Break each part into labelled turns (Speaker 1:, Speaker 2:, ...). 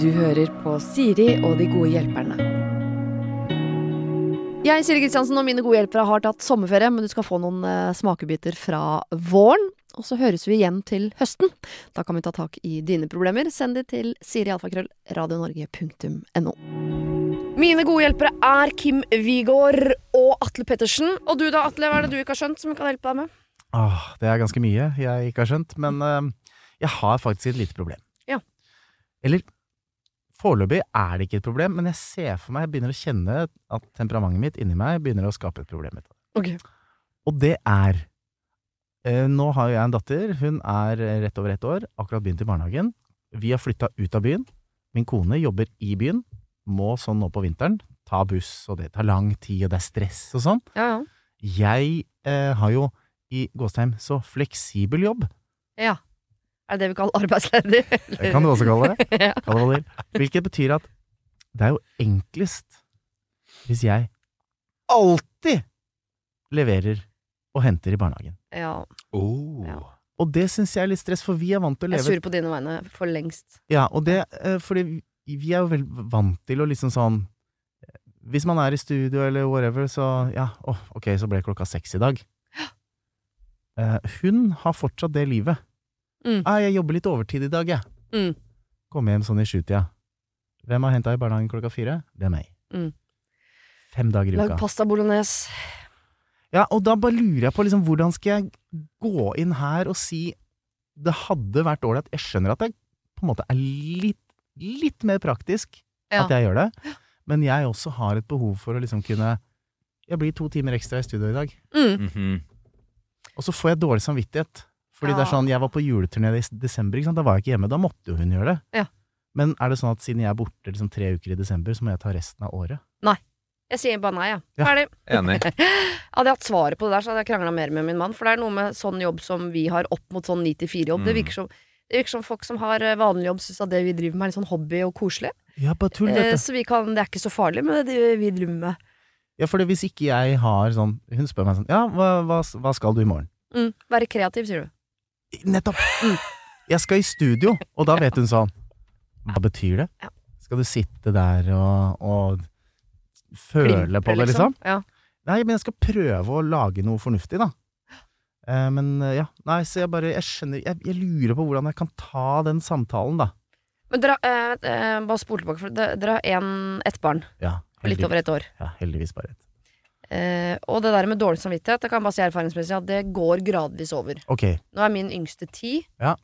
Speaker 1: Du hører på Siri og de gode hjelperne. Jeg, Siri Kristiansen, og mine gode hjelpere har tatt sommerferie, men du skal få noen eh, smakebiter fra våren. Og så høres vi igjen til høsten. Da kan vi ta tak i dine problemer. Send de til sirialfakrøllradionorge.no. Mine gode hjelpere er Kim Wigård og Atle Pettersen. Og du da, Atle, hva er det du ikke har skjønt som kan hjelpe deg med?
Speaker 2: Åh, det er ganske mye jeg ikke har skjønt, men eh, jeg har faktisk et lite problem.
Speaker 1: Ja.
Speaker 2: Eller foreløpig er det ikke et problem, men jeg ser for meg, jeg begynner å kjenne at temperamentet mitt inni meg begynner å skape et problem. ut av det.
Speaker 1: Ok.
Speaker 2: Og det er eh, Nå har jeg en datter, hun er eh, rett over ett år, akkurat begynt i barnehagen. Vi har flytta ut av byen. Min kone jobber i byen, må sånn nå på vinteren ta buss, og det tar lang tid, og det er stress og sånn.
Speaker 1: Ja, ja.
Speaker 2: Jeg eh, har jo i Gåstheim så fleksibel jobb.
Speaker 1: Ja. Er det det vi kaller arbeidsledig?
Speaker 2: Det kan du også kalle det.
Speaker 1: Ja.
Speaker 2: Kall det hva du vil. Hvilket betyr at det er jo enklest hvis jeg alltid leverer og henter i barnehagen.
Speaker 1: ja.
Speaker 3: Oh.
Speaker 1: Ja.
Speaker 2: Og det syns jeg er litt stress, for vi er vant til å
Speaker 1: Jeg er
Speaker 2: leve
Speaker 1: sur på dine vegne for lengst.
Speaker 2: Ja, og det eh, Fordi vi er jo vel vant til å liksom sånn eh, Hvis man er i studio eller whatever, så Ja, åh, ok, så ble klokka seks i dag. Eh, hun har fortsatt det livet.
Speaker 1: Mm.
Speaker 2: Ah, jeg jobber litt overtid i dag, jeg.
Speaker 1: Mm.
Speaker 2: Kom hjem sånn i sjutida. Hvem har henta i barnehagen klokka fire? Det er meg.
Speaker 1: Mm.
Speaker 2: Fem dager i
Speaker 1: Lag
Speaker 2: uka.
Speaker 1: pasta bolognese.
Speaker 2: Ja, og da bare lurer jeg på liksom, hvordan skal jeg gå inn her og si det hadde vært ålreit. Jeg skjønner at det på en måte er litt, litt mer praktisk
Speaker 1: Ja.
Speaker 2: at jeg gjør det, men jeg også har et behov for å liksom kunne Jeg blir to timer ekstra i studio i dag,
Speaker 1: Mm.
Speaker 3: Mhm.
Speaker 2: og så får jeg dårlig samvittighet. Fordi det
Speaker 1: Ja.
Speaker 2: er sånn, jeg var på juleturné i desember, ikke sant? da var jeg ikke hjemme, da måtte jo hun gjøre det.
Speaker 1: Ja.
Speaker 2: Men er det sånn at siden jeg er borte liksom, tre uker i desember, så må jeg ta resten av året?
Speaker 1: Jeg sier bare nei, jeg.
Speaker 2: Ja.
Speaker 1: Ferdig.
Speaker 3: Enig.
Speaker 1: Hadde jeg hatt svaret på det der, så hadde jeg krangla mer med min mann. For det er noe med sånn jobb som vi har, opp mot sånn 9-4-jobb. Det,
Speaker 3: Mm.
Speaker 1: virker som- det virker som folk som har eh, vanlig jobb, syns at det vi driver med, er litt sånn hobby og koselig.
Speaker 2: Ja, bare tull,
Speaker 1: Eh,
Speaker 2: dette.
Speaker 1: så vi kan, det er ikke så farlig med det vi driver med.
Speaker 2: Ja, for hvis ikke jeg har sånn Hun spør meg sånn Ja, hva, hva, hva skal du i morgen?
Speaker 1: Mm. Være kreativ, sier du.
Speaker 2: Nettopp! Mm. Jeg skal i studio, og da vet hun sånn Hva betyr det?
Speaker 1: Ja.
Speaker 2: Skal du sitte der og, og føle
Speaker 1: Klimpre,
Speaker 2: på det, liksom?
Speaker 1: Ja.
Speaker 2: Nei, men jeg skal prøve å lage noe fornuftig, da. Eh, men eh, ja, nei, så jeg bare Jeg skjønner jeg, jeg lurer på hvordan jeg kan ta den samtalen, da.
Speaker 1: Men dere, eh, eh, bare spol tilbake, for dere dere har en- ett barn.
Speaker 2: Ja,
Speaker 1: Litt
Speaker 2: heldigvis,
Speaker 1: over ett år.
Speaker 2: ja, heldigvis bare ett.
Speaker 1: Eh, og det der med dårlig samvittighet, det kan jeg bare si erfaringsmessig at det går gradvis over.
Speaker 2: Ok,
Speaker 1: Nå er min yngste ti.
Speaker 2: Ja.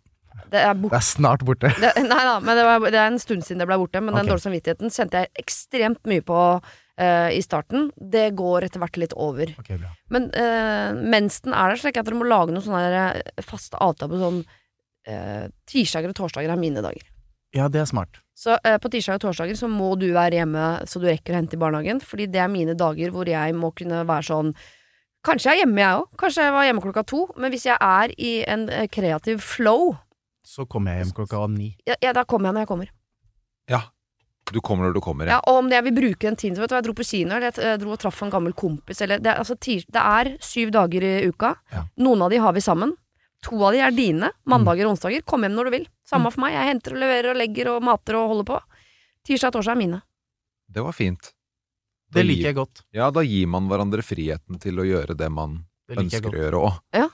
Speaker 1: Det er bort...
Speaker 2: det er snart borte.
Speaker 1: Det, nei da, men det, var, det er en stund siden det ble borte. Men den
Speaker 2: Ok.
Speaker 1: dårlige samvittigheten kjente jeg ekstremt mye på eh, i starten. Det går etter hvert litt over.
Speaker 2: Ok, bra.
Speaker 1: Men eh, mens den er der, så tenker jeg at dere må lage noen sånne der, eh, faste avtaler på sånn eh, Tirsdager og torsdager er mine dager.
Speaker 2: Ja, det er smart.
Speaker 1: Så eh, på tirsdager og torsdager så må du være hjemme så du rekker å hente i barnehagen. Fordi det er mine dager hvor jeg må kunne være sånn Kanskje jeg er hjemme, jeg òg. Kanskje jeg var hjemme klokka to. Men hvis jeg er i en eh, kreativ flow,
Speaker 2: Så kommer jeg hjem klokka ni.
Speaker 1: ja, ja, da kommer jeg når jeg kommer.
Speaker 3: Ja. Du kommer når du kommer,
Speaker 1: Ja, og om det jeg vil bruke den tiden så Vet du hva, jeg dro på kino, eller jeg t- jeg dro og traff en gammel kompis, eller det, er- altså, tir, det er syv dager i uka.
Speaker 2: Ja.
Speaker 1: Noen av de har vi sammen. To av de er dine. Mandager
Speaker 2: Mm.
Speaker 1: og onsdager. Kom hjem når du vil. Samme for meg. Jeg henter og leverer og legger og mater og holder på. Tirsdag og torsdag er mine.
Speaker 3: Det var fint.
Speaker 2: Det liker jeg godt.
Speaker 3: Ja, da gir man hverandre friheten til å gjøre det man
Speaker 2: Det liker jeg
Speaker 3: ønsker
Speaker 2: godt.
Speaker 3: å gjøre òg.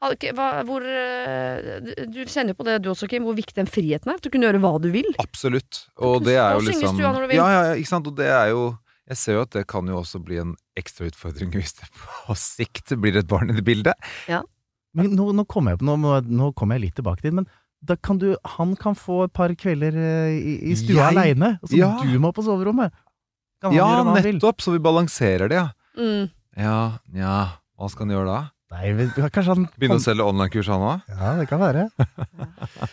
Speaker 1: Har du ikke- hva, hvor, eh, du- du kjenner jo på det du også, Kim, hvor viktig den friheten er. Du kunne gjøre hva du vil.
Speaker 3: Absolutt.
Speaker 1: kan
Speaker 3: Og det
Speaker 1: stå
Speaker 3: er jo
Speaker 1: og synge i
Speaker 3: liksom
Speaker 1: stua når du vil.
Speaker 3: Ja, ja, ja, ikke sant. Og det er jo Jeg ser jo at det kan jo også bli en ekstra utfordring hvis det på sikt blir et barn i det bildet.
Speaker 2: Men nå, nå kommer jeg, på- nå, må- nå kommer jeg litt tilbake dit, men da kan du, han kan få et par kvelder eh, i, i stua
Speaker 3: Jeg?
Speaker 2: aleine, så
Speaker 3: Ja.
Speaker 2: du må på soverommet. Kan han
Speaker 3: Ja,
Speaker 2: gjøre hva han vil?
Speaker 3: nettopp! Så vi balanserer det, ja.
Speaker 1: Mm.
Speaker 3: Ja, nja Hva skal han gjøre da?
Speaker 2: Nei, vi- kanskje han
Speaker 3: Begynne å selge online-kurs, han òg?
Speaker 2: Ja, det kan være.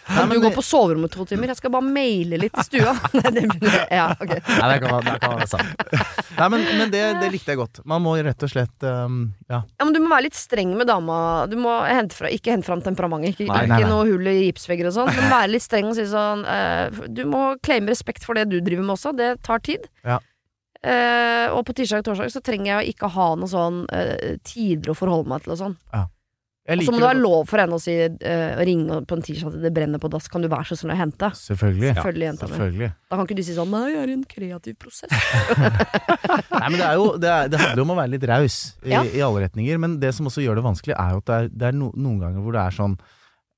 Speaker 1: Kan
Speaker 2: men
Speaker 1: du gå
Speaker 2: det-
Speaker 1: på soverommet to timer? Jeg skal bare maile litt i stua. Nei, det blir- ja, ok.
Speaker 2: Nei, det kan, være- det kan være sant. Nei, men, men det, det likte jeg godt. Man må rett og slett ehm, Ja.
Speaker 1: Ja, men Du må være litt streng med dama. Du må hente fra, Ikke hente fram temperamentet. Ikke,
Speaker 3: Nei,
Speaker 2: nei,
Speaker 1: ikke
Speaker 2: nei.
Speaker 1: noe hull i gipsvegger og sånn. Men være litt streng og si sånn eh, Du må claime respekt for det du driver med også. Det tar tid.
Speaker 2: Ja.
Speaker 1: Eh, og på tirsdag og torsdag så trenger jeg å ikke ha noe sånn eh, tider å forholde meg til og sånn.
Speaker 2: Ja. Jeg
Speaker 1: Og så må det
Speaker 2: liker det
Speaker 1: være
Speaker 2: godt.
Speaker 1: lov for henne å si, eh, å ringe på en tirsdag til det brenner på dass, kan du være så snill å hente?
Speaker 2: Selvfølgelig.
Speaker 1: Selvfølgelig, jenta mi.
Speaker 2: Selvfølgelig.
Speaker 1: Da kan ikke du si sånn nei, jeg er i en kreativ prosess.
Speaker 2: Nei, men det, er jo, det, er, det handler jo om å være litt raus i,
Speaker 1: Ja.
Speaker 2: i alle retninger. Men det som også gjør det vanskelig, er jo at det er, det er no, noen ganger hvor det er sånn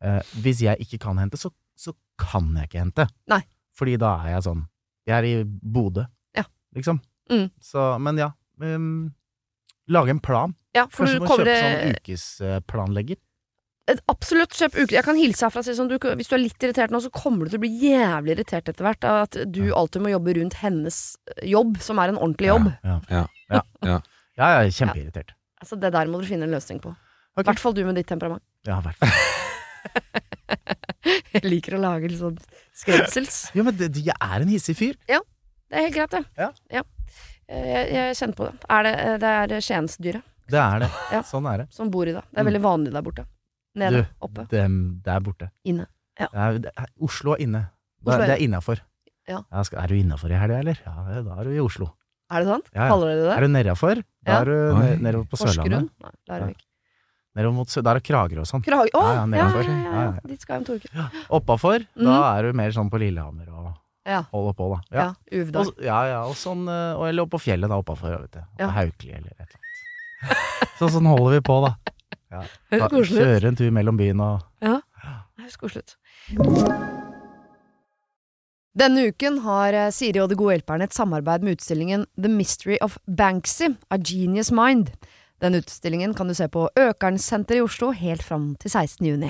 Speaker 2: eh, Hvis jeg ikke kan hente, så, så kan jeg ikke hente.
Speaker 1: Nei.
Speaker 2: Fordi da er jeg sånn Jeg er i Bodø,
Speaker 1: Ja.
Speaker 2: liksom.
Speaker 1: Mm.
Speaker 2: Så, men ja. Um, lage en plan.
Speaker 1: Ja, for du
Speaker 2: Kanskje du må kjøpe
Speaker 1: kommer
Speaker 2: sånn ukesplanlegger.
Speaker 1: Et Absolutt, kjøp uke. Jeg kan hilse herfra og si sånn, du, hvis du er litt irritert nå, så kommer du til å bli jævlig irritert etter hvert av at du alltid må jobbe rundt hennes jobb, som er en ordentlig jobb.
Speaker 2: Ja,
Speaker 3: Ja.
Speaker 2: ja.
Speaker 3: Ja.
Speaker 2: ja, ja kjempeirritert.
Speaker 1: Altså, det der må du finne en løsning på. I
Speaker 2: Ok.
Speaker 1: hvert fall du med ditt temperament.
Speaker 2: Ja, i hvert fall.
Speaker 1: Jeg liker å lage litt sånn skremsels.
Speaker 2: Jo, men det, det- jeg er en hissig fyr.
Speaker 1: Det er helt greit, det.
Speaker 2: Ja.
Speaker 1: Eh, Jeg, jeg kjenner på det. Er det, eh, det er skiensdyret
Speaker 2: Det er det.
Speaker 1: Ja.
Speaker 2: Sånn er det.
Speaker 1: som bor i det. Det er veldig vanlig der borte. Nede, oppe.
Speaker 2: Dem der borte.
Speaker 1: Inne. Ja.
Speaker 2: Det er, det er, Oslo er inne. Det
Speaker 1: Oslo
Speaker 2: er,
Speaker 1: er-
Speaker 2: det er innafor.
Speaker 1: Ja.
Speaker 2: skal- er du innafor i helga, eller? Ja, det- da er du i Oslo.
Speaker 1: Er det sant?
Speaker 2: Ja, ja.
Speaker 1: Kaller dere det
Speaker 2: Er
Speaker 1: det?
Speaker 2: du nedafor, da
Speaker 1: Ja.
Speaker 2: er du
Speaker 3: Oi.
Speaker 2: ne- nedover på
Speaker 1: Porsgrunn?
Speaker 2: Sørlandet.
Speaker 1: Nei, Larvik.
Speaker 2: Nedover mot Sø der er Kragerø og sånn.
Speaker 1: Krage... Å!
Speaker 2: Ja,
Speaker 1: Ja,
Speaker 2: ja,
Speaker 1: ja,
Speaker 2: nedenfor.
Speaker 1: ja,
Speaker 2: Ja,
Speaker 1: ja,
Speaker 2: ja.
Speaker 1: Dit skal jeg om to ukker.
Speaker 2: Oppafor, da er du mer sånn på Lillehammer og
Speaker 1: Mm. Ja.
Speaker 2: holder på, da.
Speaker 1: Ja. Uvdal.
Speaker 2: Og, ja, ja, og sånn, eh, og, eller oppå fjellet da, oppafor, vet du.
Speaker 1: Ja.
Speaker 2: På Haukeli eller et eller annet. Så sånn holder vi på, da.
Speaker 1: Høres
Speaker 2: da
Speaker 1: koselig ut.
Speaker 2: kjøre en tur mellom byen og
Speaker 1: Høres koselig ut. Denne uken har eh, Siri og De gode hjelperne et samarbeid med utstillingen The Mystery of Banksy, A Genius Mind. Den utstillingen kan du se på Økernsenteret i Oslo helt fram til 16. juni.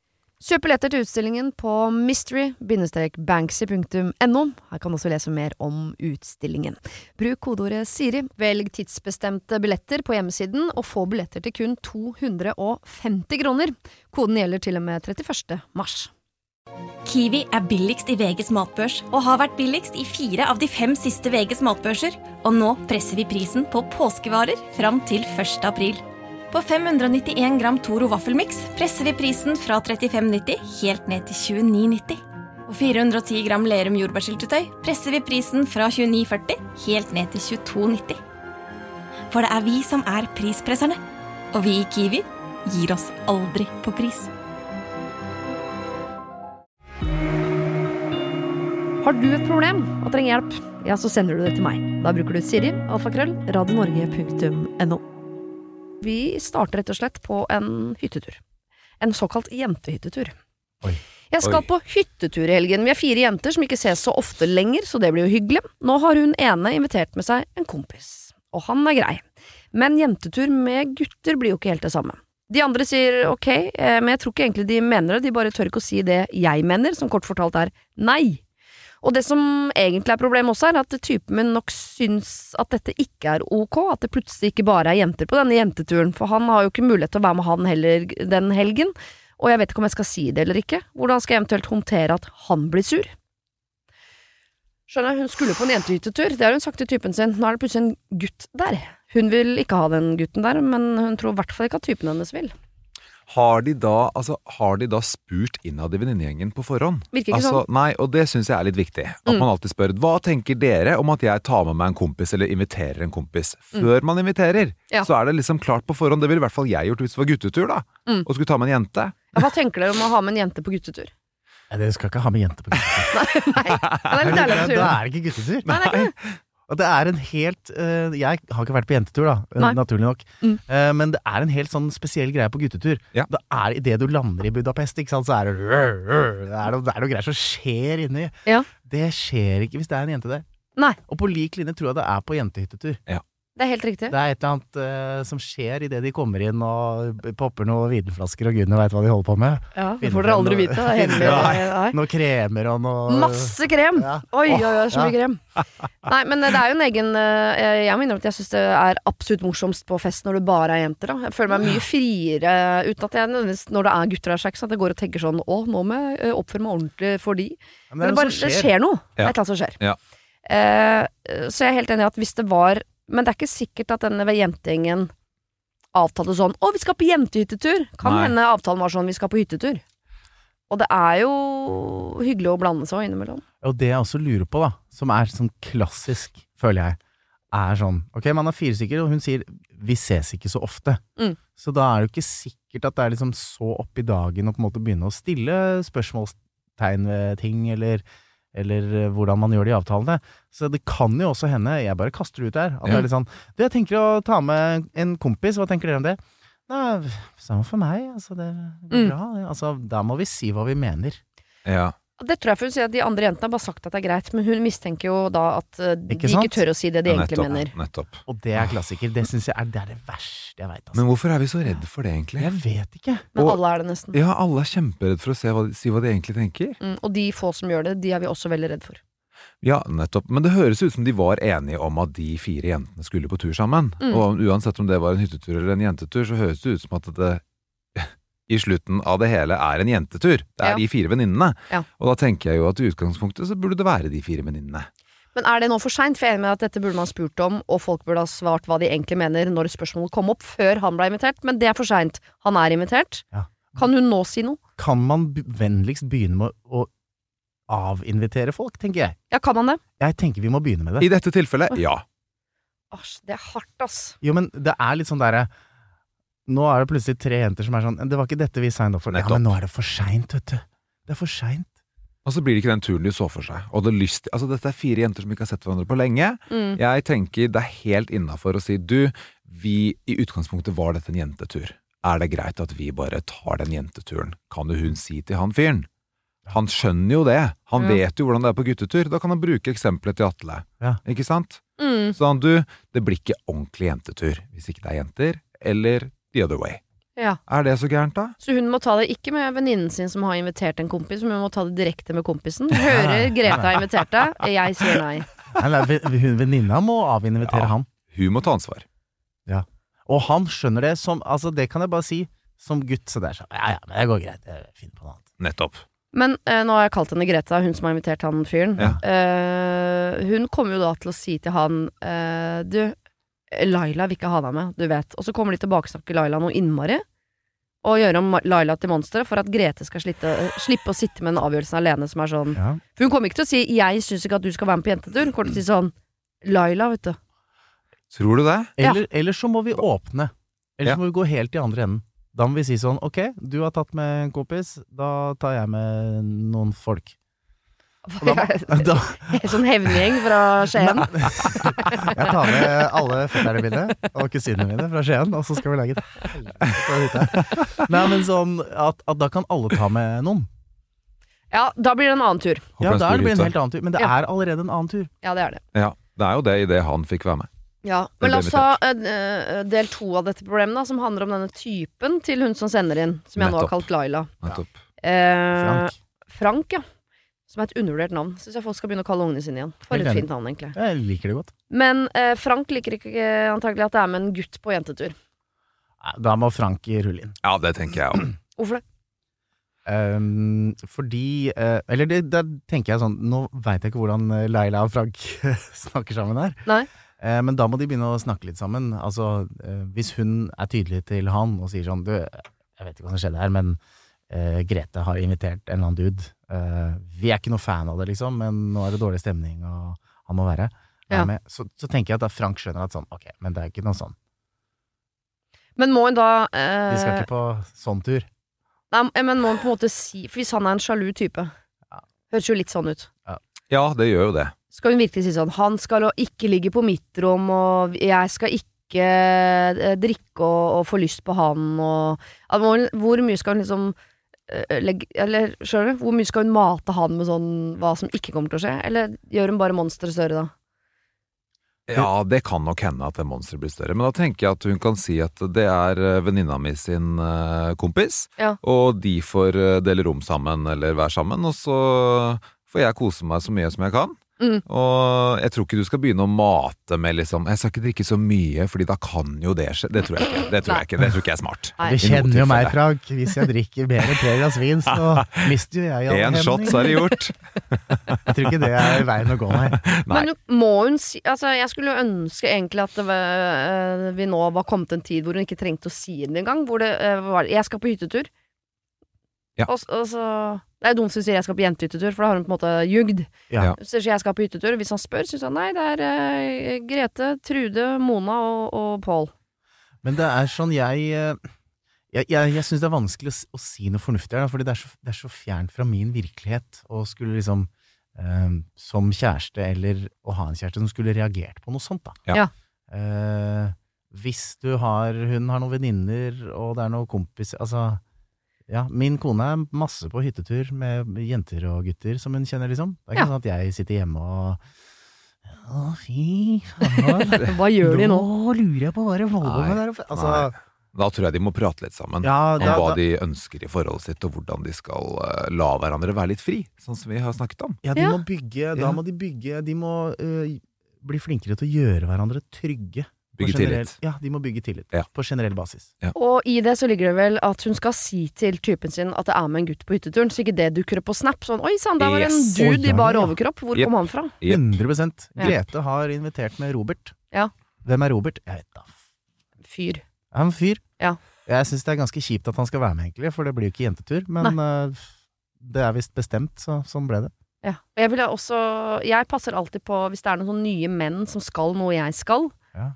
Speaker 1: Kjøp billetter til utstillingen på mystery-banksy.no. Her kan du også lese mer om utstillingen. Bruk kodeordet Siri, velg tidsbestemte billetter på hjemmesiden, og få billetter til kun 250 kroner. Koden gjelder til og med 31. mars.
Speaker 4: Kiwi er billigst i VGs matbørs og har vært billigst i fire av de fem siste VGs matbørser. Og nå presser vi prisen på påskevarer fram til 1. april. På 591 gram Toro vaffelmiks presser vi prisen fra 35,90 helt ned til 29,90. Og 410 gram Lerum jordbærsyltetøy presser vi prisen fra 29,40 helt ned til 22,90. For det er vi som er prispresserne. Og vi i Kiwi gir oss aldri på pris.
Speaker 1: Har du et problem og trenger hjelp, ja, så sender du det til meg. Da bruker du Siri, alfakrøll, radionorge.no. Vi starter rett og slett på en hyttetur. En såkalt jentehyttetur.
Speaker 2: Oi.
Speaker 1: Jeg skal
Speaker 3: Oi.
Speaker 1: på hyttetur i helgen. Vi er fire jenter som ikke ses så ofte lenger, så det blir jo hyggelig. Nå har hun ene invitert med seg en kompis, og han er grei. Men jentetur med gutter blir jo ikke helt det samme. De andre sier ok, eh, men jeg tror ikke egentlig de mener det, de bare tør ikke å si det jeg mener, som kort fortalt er nei. Og det som egentlig er problemet også, er at typen min nok syns at dette ikke er ok, at det plutselig ikke bare er jenter på denne jenteturen, for han har jo ikke mulighet til å være med han heller den helgen, og jeg vet ikke om jeg skal si det eller ikke. Hvordan skal jeg eventuelt håndtere at han blir sur? Skjønner, jeg, hun skulle på en jentehyttetur, det har hun sagt til typen sin, nå er det plutselig en gutt der. Hun vil ikke ha den gutten der, men hun tror i hvert fall ikke at typen hennes vil.
Speaker 3: Har de da, altså, har de da spurt innad i venninnegjengen på forhånd?
Speaker 1: Virker ikke sånn.
Speaker 3: altså, Nei, og det syns jeg er litt viktig. At
Speaker 1: Mm.
Speaker 3: man alltid spør hva tenker dere om at jeg tar med meg en kompis eller inviterer en kompis. Før man inviterer,
Speaker 1: Mm. Ja.
Speaker 3: så er det liksom klart på forhånd. Det ville i hvert fall jeg gjort hvis det var guttetur, da.
Speaker 1: Mm.
Speaker 3: Og skulle ta med en jente.
Speaker 1: Ja, hva tenker dere om å ha med en jente på guttetur?
Speaker 2: Nei, Dere skal ikke ha med jenter på guttetur.
Speaker 1: Ja, det er litt
Speaker 2: Da
Speaker 1: deilig å tro.
Speaker 2: er det ikke guttetur.
Speaker 1: Nei, det er ikke det.
Speaker 2: Og det er en helt eh, Jeg har ikke vært på jentetur, da, eh,
Speaker 1: Nei.
Speaker 2: naturlig nok.
Speaker 1: Mm.
Speaker 2: Eh, men det er en helt sånn spesiell greie på guttetur.
Speaker 3: Ja.
Speaker 2: Det er Idet du lander i Budapest, ikke sant, så er det Det er noe, det er noe greier som skjer inni.
Speaker 1: Ja.
Speaker 2: Det skjer ikke hvis det er en jente der.
Speaker 1: Nei.
Speaker 2: Og på lik linje tror jeg det er på jentehyttetur.
Speaker 1: Det er helt riktig.
Speaker 2: Det er et eller annet eh, som skjer idet de kommer inn og popper noen vinflasker, og gudene veit hva de holder på med.
Speaker 1: Ja, det får dere aldri vite. Det er hemmelig. Nei.
Speaker 2: Noen kremer og noe
Speaker 1: Masse krem!
Speaker 2: Ja.
Speaker 1: Oi, oi, oi, så mye
Speaker 2: Ja.
Speaker 1: krem. Nei, men det er jo en egen eh, Jeg må innrømme at jeg syns det er absolutt morsomst på fest når det bare er jenter. Da. Jeg føler meg mye friere uten at jeg nødvendigvis, når det er gutter der, så er det ikke sånn at jeg går og tenker sånn Å, nå må jeg eh, oppføre meg ordentlig for de.
Speaker 2: Ja, men
Speaker 1: Men det, bare,
Speaker 2: som
Speaker 1: det skjer noe. Det er
Speaker 3: Ja.
Speaker 1: et eller annet som skjer.
Speaker 3: Ja.
Speaker 1: Eh, så jeg er helt enig i at hvis det var Men det er ikke sikkert at denne ved jentingen avtalte sånn 'Å, vi skal på jentehyttetur'. Kan
Speaker 3: Nei.
Speaker 1: hende avtalen var sånn 'Vi skal på hyttetur'. Og det er jo hyggelig å blande seg innimellom.
Speaker 2: Og det jeg også lurer på, da, som er sånn klassisk, føler jeg, er sånn Ok, man er fire stykker, og hun sier 'vi ses ikke så ofte'.
Speaker 1: Mm.
Speaker 2: Så da er det jo ikke sikkert at det er liksom så opp i dagen å på en måte begynne å stille spørsmålstegn ved ting, eller, eller eh, hvordan man gjør det i avtalene. Så det kan jo også hende, jeg bare kaster det ut der, at det
Speaker 3: Ja.
Speaker 2: er litt sånn 'Du, jeg tenker å ta med en kompis, hva tenker dere om det?' Nei, samme for meg, altså det går
Speaker 1: Mm.
Speaker 2: bra. det. Altså, da må vi si hva vi mener.
Speaker 3: Ja.
Speaker 1: Og Det tror jeg for hun sier at de andre jentene har bare sagt at det er greit, men hun mistenker jo da at eh, de
Speaker 2: Ikke
Speaker 1: ikke
Speaker 2: sant?
Speaker 1: tør å si det de
Speaker 3: Ja,
Speaker 1: egentlig
Speaker 3: nettopp,
Speaker 1: mener.
Speaker 3: Nettopp.
Speaker 2: Og det er klassiker. Det syns jeg er det, er det verste jeg veit. Altså.
Speaker 3: Men hvorfor er vi så redd for det, egentlig?
Speaker 2: Jeg vet ikke.
Speaker 1: Men
Speaker 3: Og-
Speaker 1: alle er det nesten.
Speaker 3: Ja, alle er kjemperedd for å se hva, de- si hva de egentlig tenker.
Speaker 1: Mm, og de få som gjør det, de er vi også veldig redd for.
Speaker 3: Ja, nettopp. Men det høres ut som de var enige om at de fire jentene skulle på tur sammen.
Speaker 1: Mm.
Speaker 3: Og uansett om det var en hyttetur eller en jentetur, så høres det ut som at det i slutten av det hele er en jentetur. Det er
Speaker 1: Ja.
Speaker 3: de fire venninnene.
Speaker 1: Ja.
Speaker 3: Og da tenker jeg jo at i utgangspunktet så burde det være de fire venninnene.
Speaker 1: Men er det nå for seint? For jeg er enig med at dette burde man spurt om, og folk burde ha svart hva de egentlig mener når spørsmålet kom opp, før han ble invitert. Men det er for seint. Han er invitert.
Speaker 2: Ja.
Speaker 1: Kan hun nå si noe?
Speaker 2: Kan man b- vennligst begynne med å avinvitere folk, tenker jeg.
Speaker 1: Ja, kan man det?
Speaker 2: Jeg tenker vi må begynne med det.
Speaker 3: I dette tilfellet, ja.
Speaker 1: Asj, det er hardt, ass.
Speaker 2: Jo, men det er litt sånn derre Nå er det plutselig tre jenter som er sånn Det var ikke dette vi signet opp for. Ja,
Speaker 3: Nettopp.
Speaker 2: men nå er det for seint, vet du. Det er for seint.
Speaker 3: Og så blir det ikke den turen de så for seg. Og det lyst, altså Dette er fire jenter som ikke har sett hverandre på lenge.
Speaker 1: Mm.
Speaker 3: Jeg tenker det er helt innafor å si du, vi, i utgangspunktet var dette en jentetur. Er det greit at vi bare tar den jenteturen? Kan jo hun si til han fyren? Han skjønner jo det. Han
Speaker 1: Ja.
Speaker 3: vet jo hvordan det er på guttetur. Da kan han bruke eksempelet til Atle.
Speaker 2: Ja.
Speaker 3: Ikke sant?
Speaker 1: Mm.
Speaker 3: Så han, du, det blir ikke ordentlig jentetur hvis ikke det er jenter, eller the other way.
Speaker 1: Ja.
Speaker 3: Er det så gærent, da?
Speaker 1: Så hun må ta det ikke med venninnen sin som har invitert en kompis, men hun må ta det direkte med kompisen. Hører Grete har invitert deg, jeg sier nei.
Speaker 2: Nei, nei, ve- hun- Venninna må avinvitere
Speaker 3: Ja.
Speaker 2: han.
Speaker 3: Hun må ta ansvar.
Speaker 2: Og han skjønner det som Altså, det kan jeg bare si. Som gutt, så det er sånn Ja ja, men det går greit. Jeg finner på noe annet.
Speaker 3: Nettopp.
Speaker 1: Men eh, nå har jeg kalt henne Greta, hun som har invitert han fyren.
Speaker 3: Ja.
Speaker 1: Eh, hun kommer jo da til å si til han eh, Du, Laila vil ikke ha deg med, du vet. Og så kommer de til å baksnakke Laila noe innmari. Og gjøre om Laila til monster for at Grete skal slitte, slippe å sitte med den avgjørelsen alene som er sånn
Speaker 2: Ja.
Speaker 1: For hun kommer ikke til å si 'jeg syns ikke at du skal være med på jentetur'. Hun kommer til å si sånn Laila, vet du.
Speaker 3: Tror du det?
Speaker 1: Ja.
Speaker 2: Eller, Eller så må vi åpne. Eller
Speaker 3: Ja.
Speaker 2: så må vi gå helt i andre enden. Da må vi si sånn Ok, du har tatt med en kompis, da tar jeg med noen folk. Og Da, da,
Speaker 1: Sånn hevngjeng fra Skien.
Speaker 2: jeg tar med alle fetterne mine og kusinene mine fra Skien, og så skal vi lage et helvete på hytta. Nei, men sånn at, at da kan alle ta med noen.
Speaker 1: Ja, da blir det en annen tur.
Speaker 2: ja,
Speaker 3: Håper det er en
Speaker 2: da
Speaker 3: stor
Speaker 2: blir det en
Speaker 3: hytte.
Speaker 2: helt annen tur. Men det
Speaker 1: Ja.
Speaker 2: er allerede en annen tur.
Speaker 1: Ja, det er det.
Speaker 3: Ja. Det er jo det idet han fikk være med.
Speaker 1: Ja, men la
Speaker 3: ble
Speaker 1: oss ta eh, del to av dette problemet, da, som handler om denne typen til hun som sender inn, som jeg nå har
Speaker 3: Nettopp.
Speaker 1: kalt Laila.
Speaker 3: Nettopp.
Speaker 1: Eh,
Speaker 2: Frank.
Speaker 1: Frank, ja. Som er et undervurdert navn. Syns jeg folk skal begynne å kalle ungene sine igjen. For
Speaker 2: Helt
Speaker 1: et
Speaker 2: enig.
Speaker 1: fint navn, egentlig.
Speaker 2: Jeg liker det godt.
Speaker 1: Men eh, Frank liker ikke eh, antagelig at det er med en gutt på jentetur.
Speaker 2: Nei, Da må Frank rulle inn.
Speaker 3: Ja, det tenker jeg òg.
Speaker 1: Hvorfor det?
Speaker 2: Ehm, fordi eh, Eller det, der tenker jeg sånn Nå veit jeg ikke hvordan eh, Laila og Frank snakker sammen her.
Speaker 1: Nei.
Speaker 2: Eh, men da må de begynne å snakke litt sammen. Altså, eh, hvis hun er tydelig til han og sier sånn Du, jeg Jeg vet ikke hva som skjedde her, men eh, Grete har invitert en eller annen dude. Eh, vi er ikke noe fan av det, liksom, men nå er det dårlig stemning, og han må være, være
Speaker 1: Ja.
Speaker 2: med. Så, så tenker jeg at da Frank skjønner at sånn, ok, men det er ikke noe sånn.
Speaker 1: Men må hun da
Speaker 2: De skal
Speaker 1: eh,
Speaker 2: ikke på sånn tur.
Speaker 1: nei, Men må hun på en måte si For hvis han er en sjalu type Høres jo litt sånn ut.
Speaker 3: Ja, det gjør jo det.
Speaker 1: Skal hun virkelig si sånn Han skal å ikke ligge på mitt rom, og jeg skal ikke eh, drikke og, og få lyst på han, og Ja, må hun- Hvor mye skal hun liksom eh, legge, eller skjønner du, Hvor mye skal hun mate han med sånn hva som ikke kommer til å skje? Eller gjør hun bare monsteret større da?
Speaker 3: Ja, det kan nok hende at det monsteret blir større, men da tenker jeg at hun kan si at det er eh, venninna mi sin eh, kompis,
Speaker 1: Ja.
Speaker 3: og de får eh, dele rom sammen eller være sammen, og så får jeg kose meg så mye som jeg kan.
Speaker 1: Mm.
Speaker 3: Og jeg tror ikke du skal begynne å mate med liksom Jeg skal ikke drikke så mye, fordi da kan jo det skje. Det tror jeg ikke. Det tror jeg ikke, det tror ikke jeg er smart.
Speaker 1: Nei.
Speaker 2: Du
Speaker 3: I noe
Speaker 2: kjenner jo meg,
Speaker 3: tilfelle.
Speaker 2: Frank. Hvis jeg drikker mer enn tre glass vin, så mister jo jeg alle
Speaker 3: Én
Speaker 2: hendene.
Speaker 3: shot, så er det gjort.
Speaker 2: Jeg tror ikke det er veien å gå, nei.
Speaker 3: Nei.
Speaker 1: Men må hun si Altså, jeg skulle jo ønske egentlig at det var, eh, vi nå var kommet til en tid hvor hun ikke trengte å si det engang. Hvor det eh, var Jeg skal på hyttetur.
Speaker 3: Ja.
Speaker 1: Og, s- og så Det er jo dumt hvis hun sier jeg skal på jentehyttetur, for da har hun på en måte ljugd.
Speaker 2: Ja.
Speaker 3: Ja.
Speaker 1: Så sier jeg skal på hyttetur, og hvis han spør, syns han nei, det er eh, Grete, Trude, Mona og, og Pål.
Speaker 2: Men det er sånn jeg eh, Jeg, jeg, jeg syns det er vanskelig å, s- å si noe fornuftig her, da, fordi det er, så, det er så fjernt fra min virkelighet å skulle liksom eh, Som kjæreste eller å ha en kjæreste som skulle reagert på noe sånt, da.
Speaker 3: Ja.
Speaker 1: Ja.
Speaker 2: Eh, hvis du har Hun har noen venninner, og det er noen kompiser Altså ja, Min kone er masse på hyttetur med jenter og gutter som hun kjenner, liksom. Det er ikke
Speaker 1: Ja.
Speaker 2: sånn at jeg sitter hjemme og Å, fy faen.
Speaker 1: Hva gjør de nå?
Speaker 2: lurer jeg på hva det holder på med der oppe. Altså,
Speaker 3: Nei. Da tror jeg de må prate litt sammen.
Speaker 2: ja,
Speaker 3: Om
Speaker 2: da,
Speaker 3: hva
Speaker 2: da,
Speaker 3: de ønsker i forholdet sitt, og hvordan de skal eh, la hverandre være litt fri, sånn som vi har snakket om.
Speaker 2: ja, de
Speaker 1: Ja.
Speaker 2: må bygge, da
Speaker 3: Ja.
Speaker 2: må de bygge De må øh, bli flinkere til å gjøre hverandre trygge. på
Speaker 3: Bygge
Speaker 2: generell-
Speaker 3: tillit.
Speaker 2: Ja, de må bygge tillit.
Speaker 3: Ja.
Speaker 2: På generell basis.
Speaker 1: Og i det så ligger det vel at hun skal si til typen sin at det er med en gutt på hytteturen, så ikke det dukker opp på Snap. Sånn 'oi sann, der var det en
Speaker 3: Yes.
Speaker 1: dude i
Speaker 2: Å,
Speaker 1: bar
Speaker 2: ja.
Speaker 1: overkropp', hvor
Speaker 3: Jep.
Speaker 1: kom han fra?
Speaker 3: Jep.
Speaker 2: 100
Speaker 1: Ja.
Speaker 2: Grete har invitert med Robert.
Speaker 1: Ja.
Speaker 2: Hvem er Robert? Jeg vet da.
Speaker 1: Fyr.
Speaker 2: Han er en fyr.
Speaker 1: Ja.
Speaker 2: Jeg syns det er ganske kjipt at han skal være med, egentlig, for det blir jo ikke jentetur. Men øh, det er visst bestemt, så sånn ble det.
Speaker 1: Ja. Og jeg vil også Jeg passer alltid på, hvis det er noen sånne nye menn som skal noe jeg skal,
Speaker 2: Ja.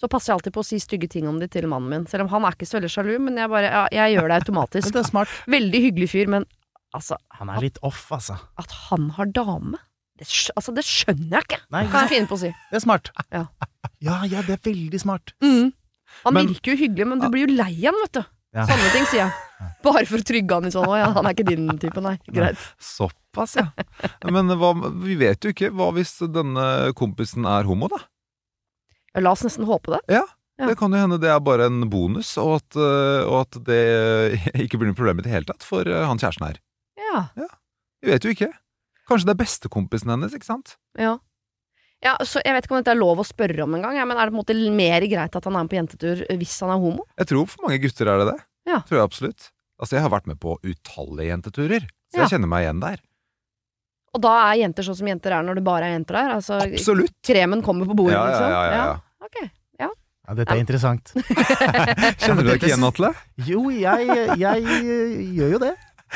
Speaker 1: så passer jeg alltid på å si stygge ting om de til mannen min. Selv om han er ikke så veldig sjalu, men jeg bare ja, Jeg gjør det
Speaker 2: Men
Speaker 1: automatisk.
Speaker 2: det er smart.
Speaker 1: Veldig hyggelig fyr, men altså,
Speaker 2: Han er litt off, altså.
Speaker 1: at han har dame det, skj- altså, det skjønner jeg ikke,
Speaker 2: Nei,
Speaker 1: kan jeg finne på å si.
Speaker 2: det er smart.
Speaker 1: Ja.
Speaker 2: ja, ja, det er veldig smart.
Speaker 1: Mm. Han
Speaker 2: Men-
Speaker 1: virker jo hyggelig, men du blir jo lei han, vet du.
Speaker 2: Ja.
Speaker 1: Sånne ting sier jeg. Bare for å trygge han i sånn Å ja, han er ikke din type, nei. Greit.
Speaker 3: Såpass, ja. Men hva, vi vet jo ikke. Hva hvis denne kompisen er homo, da?
Speaker 1: Ja, La oss nesten håpe det. Ja.
Speaker 3: Det kan jo hende det er bare en bonus, og at, øh, og at det øh, ikke blir noe problem i det hele tatt for øh, han kjæresten her.
Speaker 1: Ja.
Speaker 3: Vi vet jo ikke. Kanskje det er bestekompisen hennes, ikke sant?
Speaker 1: Ja. ja, så Jeg vet ikke om dette er lov å spørre om engang, ja, men er det på en måte mer greit at han er med på jentetur hvis han er homo?
Speaker 3: Jeg tror for mange gutter er det det.
Speaker 1: Ja.
Speaker 3: Tror jeg absolutt. Altså, jeg har vært med på utallige jenteturer, så
Speaker 1: Ja.
Speaker 3: jeg kjenner meg igjen der.
Speaker 1: Og da er jenter sånn som jenter er når det bare er jenter der? Altså,
Speaker 3: Absolutt!
Speaker 1: Kremen kommer på bordet,
Speaker 3: Ja, ja,
Speaker 1: liksom?
Speaker 3: ja, ja, ja.
Speaker 1: ok.
Speaker 2: Ja, dette er interessant.
Speaker 3: Kjenner du deg ikke igjen, Atle?
Speaker 2: Jo, jeg, jeg eh, gjør jo det.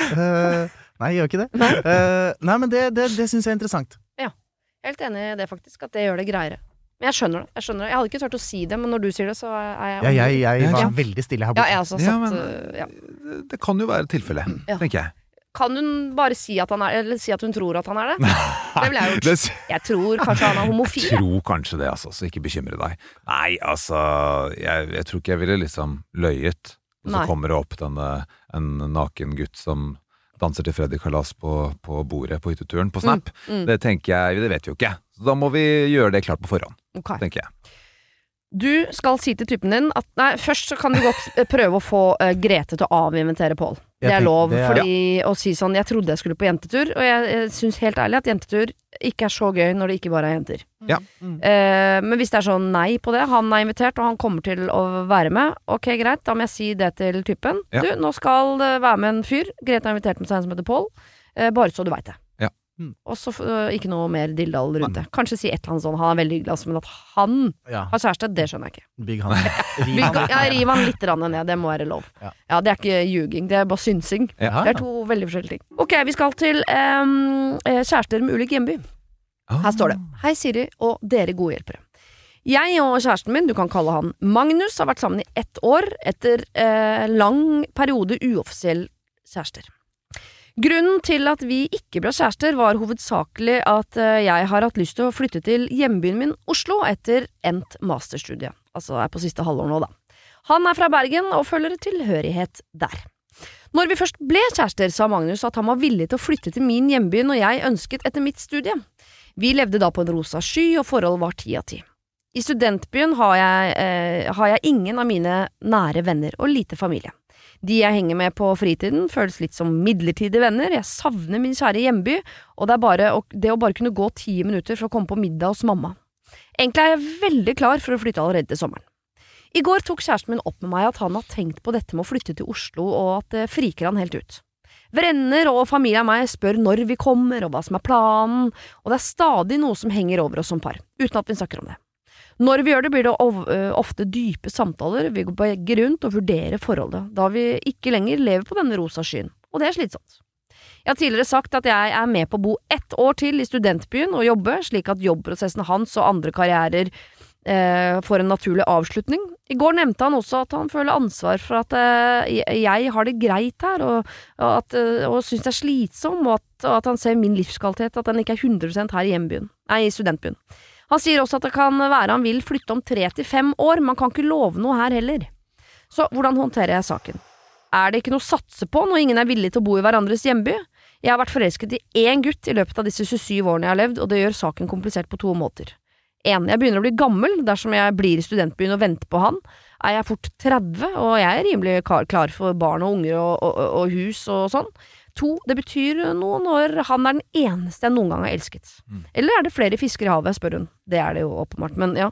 Speaker 2: Eh, nei, jeg gjør ikke det. Eh, nei, men det, det, det syns jeg er interessant.
Speaker 1: Jeg er helt enig i det, faktisk. At det gjør det greiere. Men jeg skjønner det. Jeg skjønner det. Jeg hadde ikke turt å si det, men når du sier det, så er jeg
Speaker 2: Ja, jeg, jeg var
Speaker 3: Ja.
Speaker 2: veldig stille her
Speaker 1: Ja, jeg
Speaker 2: borte.
Speaker 1: også
Speaker 3: Ja,
Speaker 1: satt,
Speaker 3: men-
Speaker 1: øh, ja.
Speaker 3: Det, det kan jo være tilfellet,
Speaker 1: Ja.
Speaker 3: tenker jeg.
Speaker 1: Kan hun bare si at han er Eller si at hun tror at han er det? Det ville jeg gjort.
Speaker 3: Det s-
Speaker 1: Jeg tror kanskje han er homofil. jeg.
Speaker 3: Tro kanskje det, altså, så ikke bekymre deg. Nei, altså, jeg, jeg tror ikke jeg ville liksom løyet. Og så
Speaker 1: Nei.
Speaker 3: kommer det opp denne, en naken gutt som danser til Freddy Kalas på, på bordet på hytteturen på Snap.
Speaker 1: mm.
Speaker 3: Det tenker jeg, det vet vi jo ikke. Så da må vi gjøre det klart på forhånd,
Speaker 1: Ok.
Speaker 3: tenker jeg.
Speaker 1: Du skal si til typen din at Nei, først så kan du godt eh, prøve å få eh, Grete til å avinventere Pål. Det
Speaker 2: Jeg
Speaker 1: er
Speaker 2: tenker-
Speaker 1: lov,
Speaker 2: det er-
Speaker 1: fordi å si sånn 'Jeg trodde jeg skulle på jentetur', og jeg, jeg syns helt ærlig at jentetur ikke er så gøy når det ikke bare er jenter.
Speaker 3: Ja.
Speaker 1: Eh, men hvis det er sånn nei på det, han er invitert og han kommer til å være med, ok greit, da må jeg si det til typen.
Speaker 3: Ja.
Speaker 1: Du, nå skal det være med en fyr. Grete har invitert med seg en som heter Pål. Eh, bare så du veit det.
Speaker 3: Ja.
Speaker 2: Mm.
Speaker 1: Og så øh, ikke noe mer dilldall rundt det. Kanskje si et eller annet sånn, han er veldig hyggelig, altså, men at han
Speaker 2: Ja,
Speaker 1: har kjæreste, det skjønner jeg ikke.
Speaker 2: Big Han. Riv
Speaker 1: Bygg,
Speaker 2: han.
Speaker 1: ja, riv han litt rann ned, det må være lov.
Speaker 2: Ja.
Speaker 1: Ja. Det er ikke ljuging, det er bare synsing.
Speaker 2: Ja.
Speaker 3: Ah,
Speaker 1: Det er to veldig forskjellige ting. Ok, vi skal til em, eh, kjærester med ulik hjemby. Her står det Hei Siri og dere gode hjelpere. Jeg og kjæresten min, du kan kalle han Magnus, har vært sammen i ett år etter eh, lang periode uoffisiell kjærester. Grunnen til at vi ikke ble kjærester var hovedsakelig at eh, jeg har hatt lyst til å flytte til hjembyen min Oslo etter endt masterstudie. Altså er på siste halvår nå, da. Han er fra Bergen og føler tilhørighet der. Når vi først ble kjærester, sa Magnus at han var villig til å flytte til min hjemby når jeg ønsket etter mitt studie. Vi levde da på en rosa sky, og forholdet var ti av ti. I studentbyen har jeg, eh, har jeg ingen av mine nære venner og lite familie. De jeg henger med på fritiden, føles litt som midlertidige venner, jeg savner min kjære hjemby, og det er bare å, det å bare kunne gå ti minutter for å komme på middag hos mamma. Egentlig er jeg veldig klar for å flytte allerede til sommeren. I går tok kjæresten min opp med meg at han har tenkt på dette med å flytte til Oslo, og at det friker han helt ut. Venner og familie av meg spør når vi kommer, og hva som er planen, og det er stadig noe som henger over oss som par, uten at vi snakker om det. Når vi gjør det, blir det ov- ø, ofte dype samtaler, vi går begge rundt og vurderer forholdet, da vi ikke lenger lever på denne rosa skyen, og det er slitsomt. Jeg har tidligere sagt at jeg er med på å bo ett år til i studentbyen og jobbe, slik at jobbprosessen hans og andre karrierer eh, får en naturlig avslutning. I går nevnte han også at han føler ansvar for at eh, jeg har det greit her, og og, at, øh, og syns det er slitsom, og at, og at han ser min livskvalitet, at den ikke er 100 her i, hjembyen, nei, i studentbyen. Han sier også at det kan være han vil flytte om tre til fem år, man kan ikke love noe her heller. Så hvordan håndterer jeg saken? Er det ikke noe å satse på når ingen er villig til å bo i hverandres hjemby? Jeg har vært forelsket i én gutt i løpet av disse 27 årene jeg har levd, og det gjør saken komplisert på to måter. En, jeg begynner å bli gammel dersom jeg blir i studentbyen og venter på han, er jeg fort 30, og jeg er rimelig kar- klar for barn og unger og, og, og- og hus og sånn. To, det betyr noe når han er den eneste jeg noen gang har elsket.
Speaker 3: Mm.
Speaker 1: Eller er det flere fisker i havet, spør hun. Det er det jo åpenbart, men ja.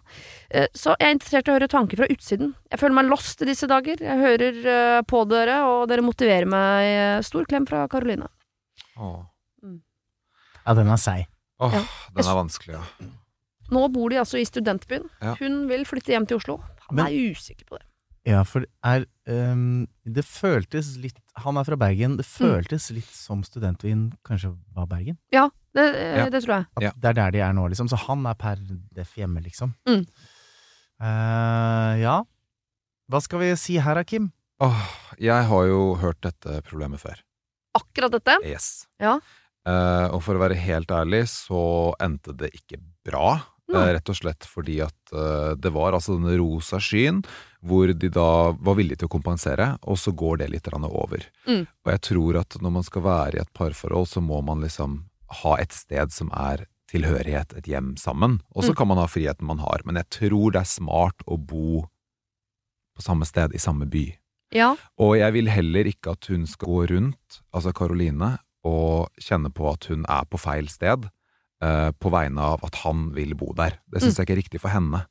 Speaker 1: Eh, Så jeg er interessert i å høre tanker fra utsiden. Jeg føler meg lost i disse dager. Jeg hører eh, på dere, og dere motiverer meg. eh, Stor klem fra Karoline.
Speaker 3: Åh.
Speaker 2: Ja, den er seig.
Speaker 3: Åh,
Speaker 1: Ja.
Speaker 3: den er vanskelig, ja.
Speaker 1: Nå bor de altså i studentbyen.
Speaker 3: Ja.
Speaker 1: Hun vil flytte hjem til Oslo. Han
Speaker 2: Men-
Speaker 1: er usikker på det.
Speaker 2: Ja, for det er ehm, Det føltes litt Han er fra Bergen.
Speaker 1: Mm.
Speaker 2: Det føltes litt som studentbyen kanskje var Bergen.
Speaker 1: Det, eh,
Speaker 3: Ja.
Speaker 1: det tror jeg.
Speaker 2: At
Speaker 3: Ja.
Speaker 2: Det er der de er nå, liksom. Så han er per def hjemme, liksom.
Speaker 1: Mm.
Speaker 2: Eh, ja. Hva skal vi si her, da, Kim?
Speaker 3: Åh, jeg har jo hørt dette problemet før.
Speaker 1: Akkurat dette.
Speaker 3: Yes.
Speaker 1: Ja.
Speaker 3: Eh, og for å være helt ærlig, så endte det ikke bra.
Speaker 1: Nei.
Speaker 3: Eh, rett og slett fordi at eh, det var altså denne rosa skyen hvor de da var villige til å kompensere, og så går det litt grann over.
Speaker 1: Mm.
Speaker 3: Og jeg tror at når man skal være i et parforhold, så må man liksom ha et sted som er tilhørighet, et hjem sammen. Og så
Speaker 1: Mm.
Speaker 3: kan man ha friheten man har, men jeg tror det er smart å bo på samme sted, i samme by.
Speaker 1: Ja.
Speaker 3: Og jeg vil heller ikke at hun skal gå rundt, altså Karoline, og kjenne på at hun er på feil sted, eh, på vegne av at han vil bo der. Det syns jeg ikke er riktig for henne.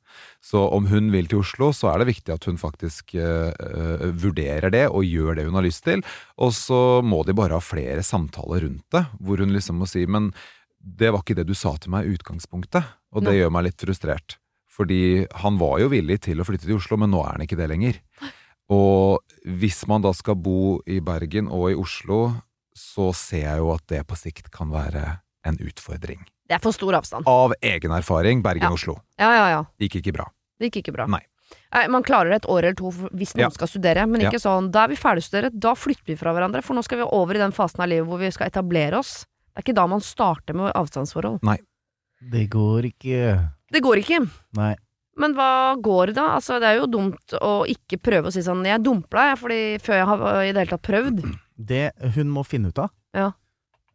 Speaker 3: Så om hun vil til Oslo, så er det viktig at hun faktisk eh, eh, vurderer det og gjør det hun har lyst til. Og så må de bare ha flere samtaler rundt det, hvor hun liksom må si Men det var ikke det du sa til meg i utgangspunktet, og det
Speaker 1: Nei.
Speaker 3: gjør meg litt frustrert. Fordi han var jo villig til å flytte til Oslo, men nå er han ikke det lenger. Og hvis man da skal bo i Bergen og i Oslo, så ser jeg jo at det på sikt kan være en utfordring.
Speaker 1: Det er for stor avstand.
Speaker 3: Av egen erfaring,
Speaker 1: Ja.
Speaker 3: Bergen-Oslo.
Speaker 1: Ja, ja, ja.
Speaker 3: Gikk ikke bra.
Speaker 1: Det gikk ikke bra.
Speaker 3: Nei.
Speaker 1: Nei, Man klarer det et år eller to for- hvis noen
Speaker 3: Ja.
Speaker 1: skal studere, men
Speaker 3: Ja.
Speaker 1: ikke sånn da er vi ferdigstudert, da flytter vi fra hverandre, for nå skal vi over i den fasen av livet hvor vi skal etablere oss. Det er ikke da man starter med avstandsforhold.
Speaker 2: Det går ikke.
Speaker 1: Det går ikke.
Speaker 2: Nei.
Speaker 1: Men hva går det da? Altså, det er jo dumt å ikke prøve å si sånn 'jeg dumper deg', fordi før jeg har øh, i det hele tatt prøvd.
Speaker 2: Det hun må finne ut av,
Speaker 1: Ja.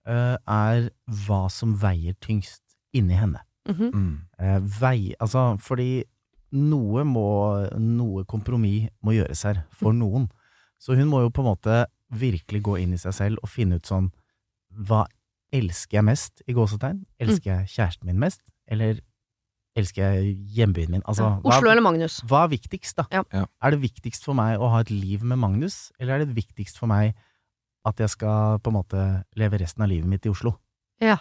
Speaker 2: eh, er hva som veier tyngst inni henne.
Speaker 1: Mhm.
Speaker 3: Mm.
Speaker 2: Eh, vei, altså, fordi noe må Noe kompromiss må gjøres her, for
Speaker 1: Mm.
Speaker 2: noen. Så hun må jo på en måte virkelig gå inn i seg selv og finne ut sånn Hva elsker jeg mest, i gåsetegn?
Speaker 1: Mm.
Speaker 2: Elsker jeg kjæresten min mest, eller elsker jeg hjembyen min? Altså,
Speaker 1: Ja.
Speaker 2: hva-
Speaker 1: Oslo eller Magnus?
Speaker 2: hva er viktigst, da?
Speaker 1: Ja.
Speaker 3: Ja.
Speaker 2: Er det viktigst for meg å ha et liv med Magnus, eller er det viktigst for meg at jeg skal på en måte leve resten av livet mitt i Oslo?
Speaker 1: Ja.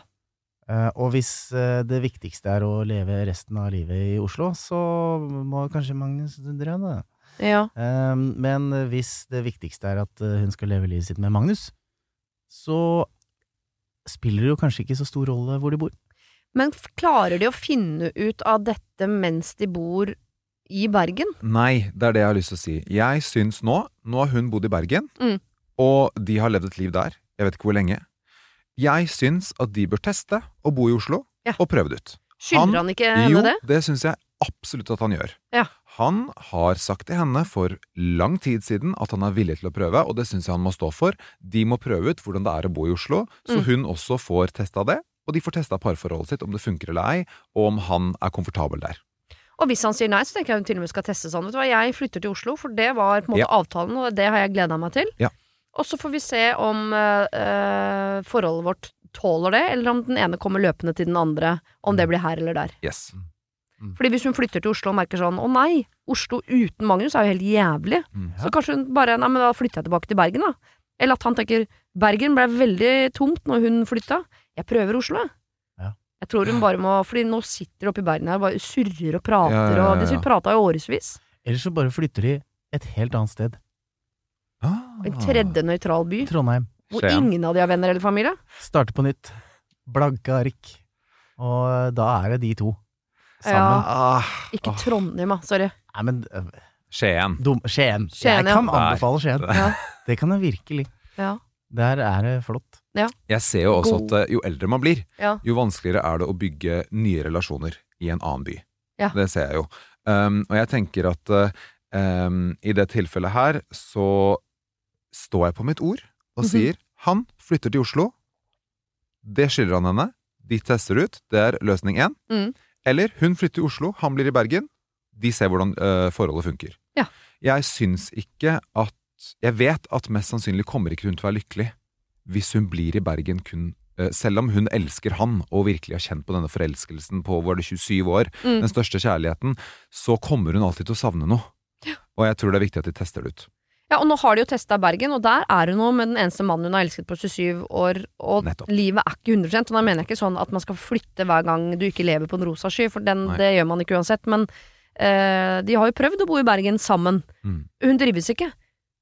Speaker 2: Eh, Og hvis eh, det viktigste er å leve resten av livet i Oslo, så må kanskje Magnus dra, da.
Speaker 1: Ja.
Speaker 2: Eh, Men hvis det viktigste er at eh, hun skal leve livet sitt med Magnus, så spiller det jo kanskje ikke så stor rolle hvor de bor.
Speaker 1: Men f- klarer de å finne ut av dette mens de bor i Bergen?
Speaker 3: Nei, det er det jeg har lyst til å si. Jeg syns nå Nå har hun bodd i Bergen,
Speaker 1: Mm.
Speaker 3: og de har levd et liv der. Jeg vet ikke hvor lenge. Jeg syns at de bør teste å bo i Oslo
Speaker 1: Ja.
Speaker 3: og prøve det ut.
Speaker 1: Skylder han ikke henne
Speaker 3: jo,
Speaker 1: det?
Speaker 3: det syns jeg absolutt at han gjør.
Speaker 1: Eh, Ja.
Speaker 3: Han har sagt til henne for lang tid siden at han er villig til å prøve, og det syns jeg han må stå for. De må prøve ut hvordan det er å bo i Oslo, så
Speaker 1: Mm.
Speaker 3: hun også får testa det. Og de får testa parforholdet sitt, om det funker eller ei, og om han er komfortabel der.
Speaker 1: Og hvis han sier nei, så tenker jeg hun til og med skal teste sånn. Vet du hva, jeg flytter til Oslo, for det var på en måte
Speaker 3: Ja.
Speaker 1: avtalen, og det har jeg gleda meg til.
Speaker 3: Ja.
Speaker 1: Og så får vi se om eh, eh, forholdet vårt tåler det, eller om den ene kommer løpende til den andre. Om
Speaker 3: Mm.
Speaker 1: det blir her eller der.
Speaker 3: Yes.
Speaker 1: Fordi hvis hun flytter til Oslo og merker sånn å nei, Oslo uten Magnus er jo helt jævlig.
Speaker 3: Mm.
Speaker 1: Så kanskje hun bare nei, men da flytter jeg tilbake til Bergen, da. Eller at han tenker Bergen ble veldig tomt når hun flytta. Jeg prøver Oslo, jeg.
Speaker 2: Ja.
Speaker 1: Jeg tror hun bare må Fordi nå sitter de oppe i Bergen her og bare surrer og prater,
Speaker 3: Ja, ja, ja,
Speaker 1: og de
Speaker 3: ja.
Speaker 1: sitter prata i årevis.
Speaker 2: Eller så bare flytter de et helt annet sted.
Speaker 3: Ah.
Speaker 1: En tredje nøytral by
Speaker 2: Trondheim.
Speaker 1: hvor
Speaker 3: Skien.
Speaker 1: ingen av de har venner eller familie.
Speaker 2: Starte på nytt. Blanke ark. Og eh, da er det de to. Sammen.
Speaker 1: Ja.
Speaker 3: Ah,
Speaker 1: Ikke
Speaker 3: ah,
Speaker 1: Trondheim, ah, sorry.
Speaker 2: Nei, men eh,
Speaker 3: Skien.
Speaker 2: dum, Skien.
Speaker 1: Skien,
Speaker 2: Jeg
Speaker 1: ja.
Speaker 2: kan anbefale Skien.
Speaker 1: Ja.
Speaker 2: Det kan jeg virkelig.
Speaker 1: Ja.
Speaker 2: Der er det flott.
Speaker 3: Jeg ser jo også
Speaker 1: God.
Speaker 3: at eh, jo eldre man blir,
Speaker 1: Ja.
Speaker 3: jo vanskeligere er det å bygge nye relasjoner i en annen by.
Speaker 1: Ja.
Speaker 3: Det ser jeg jo. Um, og jeg tenker at eh, um, i det tilfellet her så står jeg på mitt ord og
Speaker 1: Mhm.
Speaker 3: sier han flytter til Oslo. Det skylder han henne. De tester ut. Det er løsning én.
Speaker 1: Mm.
Speaker 3: Eller hun flytter til Oslo, han blir i Bergen. De ser hvordan eh, forholdet funker.
Speaker 1: Ja.
Speaker 3: Jeg syns ikke at Jeg vet at mest sannsynlig kommer ikke hun til å være lykkelig hvis hun blir i Bergen kun eh, selv om hun elsker han og virkelig har kjent på denne forelskelsen på var det 27 år,
Speaker 1: Mm.
Speaker 3: den største kjærligheten, så kommer hun alltid til å savne noe. Og jeg tror det er viktig at de tester det ut.
Speaker 1: Ja, og nå har de jo testa Bergen, og der er hun nå med den eneste mannen hun har elsket på 27 år, og
Speaker 3: Nettopp.
Speaker 1: livet er ikke 100 og da mener jeg ikke sånn at man skal flytte hver gang du ikke lever på en rosa sky, for den,
Speaker 3: Nei.
Speaker 1: det gjør man ikke uansett, men eh, de har jo prøvd å bo i Bergen sammen.
Speaker 3: Mm.
Speaker 1: Hun drives ikke.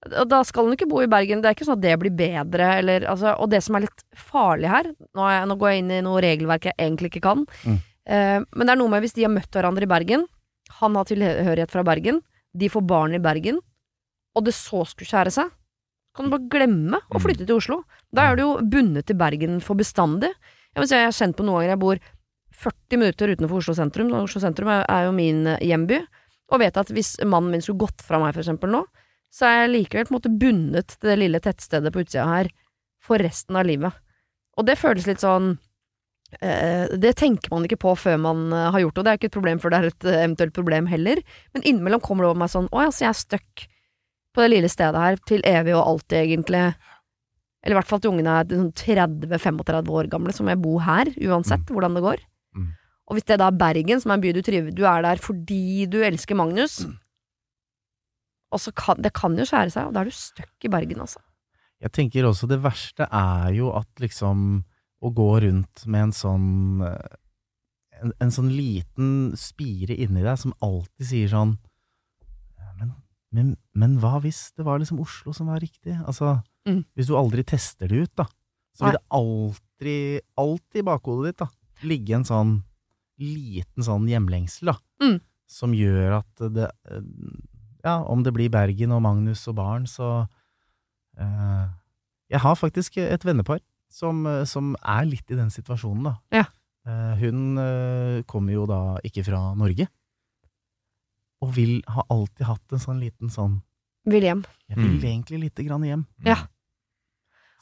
Speaker 1: Og da skal hun ikke bo i Bergen, det er ikke sånn at det blir bedre, eller altså Og det som er litt farlig her, nå, er jeg, nå går jeg inn i noe regelverk jeg egentlig ikke kan,
Speaker 2: Mm.
Speaker 1: eh, men det er noe med hvis de har møtt hverandre i Bergen, han har tilhørighet fra Bergen, de får barn i Bergen, og det så skulle skjære seg, kan du bare glemme å flytte til Oslo. Da er du jo bundet til Bergen for bestandig. Jeg, må si, jeg har kjent på noen ganger jeg bor 40 minutter utenfor Oslo sentrum, og Oslo sentrum er, er jo min eh, hjemby, og vet at hvis mannen min skulle gått fra meg for eksempel nå, så er jeg likevel på en måte bundet til det lille tettstedet på utsida her for resten av livet. Og det føles litt sånn eh, Det tenker man ikke på før man eh, har gjort det, og det er ikke et problem før det er et eh, eventuelt problem heller, men innimellom kommer det over meg sånn Å ja, så jeg er stuck på det lille stedet her til evig og alltid, egentlig. Eller i hvert fall til ungene er sånn 30-35 år gamle, så må jeg bo her, uansett hvordan det går.
Speaker 2: Mm.
Speaker 1: Og hvis det da er Bergen, som er en by du trives Du er der fordi du elsker Magnus.
Speaker 2: Mm.
Speaker 1: Og så kan det kan jo skjære seg, og da er du stuck i Bergen, altså.
Speaker 2: Jeg tenker også det verste er jo at liksom å gå rundt med en sånn eh, en, en sånn liten spire inni deg som alltid sier sånn «Ja, men, men, men hva hvis det var liksom Oslo som var riktig? Altså,
Speaker 1: Mm.
Speaker 2: hvis du aldri tester det ut, da, så
Speaker 1: Nei.
Speaker 2: vil det alltid, alltid i bakhodet ditt, da, ligge en sånn liten sånn hjemlengsel, da,
Speaker 1: Mm.
Speaker 2: som gjør at det eh, Ja, om det blir Bergen og Magnus og barn, så Eh, Jeg har faktisk et vennepar som, eh, som er litt i den situasjonen, da.
Speaker 1: Ja.
Speaker 2: Eh, Hun eh, kommer jo da ikke fra Norge, og vil har alltid hatt en sånn liten sånn
Speaker 1: Vil hjem.
Speaker 2: Jeg vil
Speaker 3: Mm.
Speaker 2: egentlig lite grann hjem.
Speaker 1: Ja.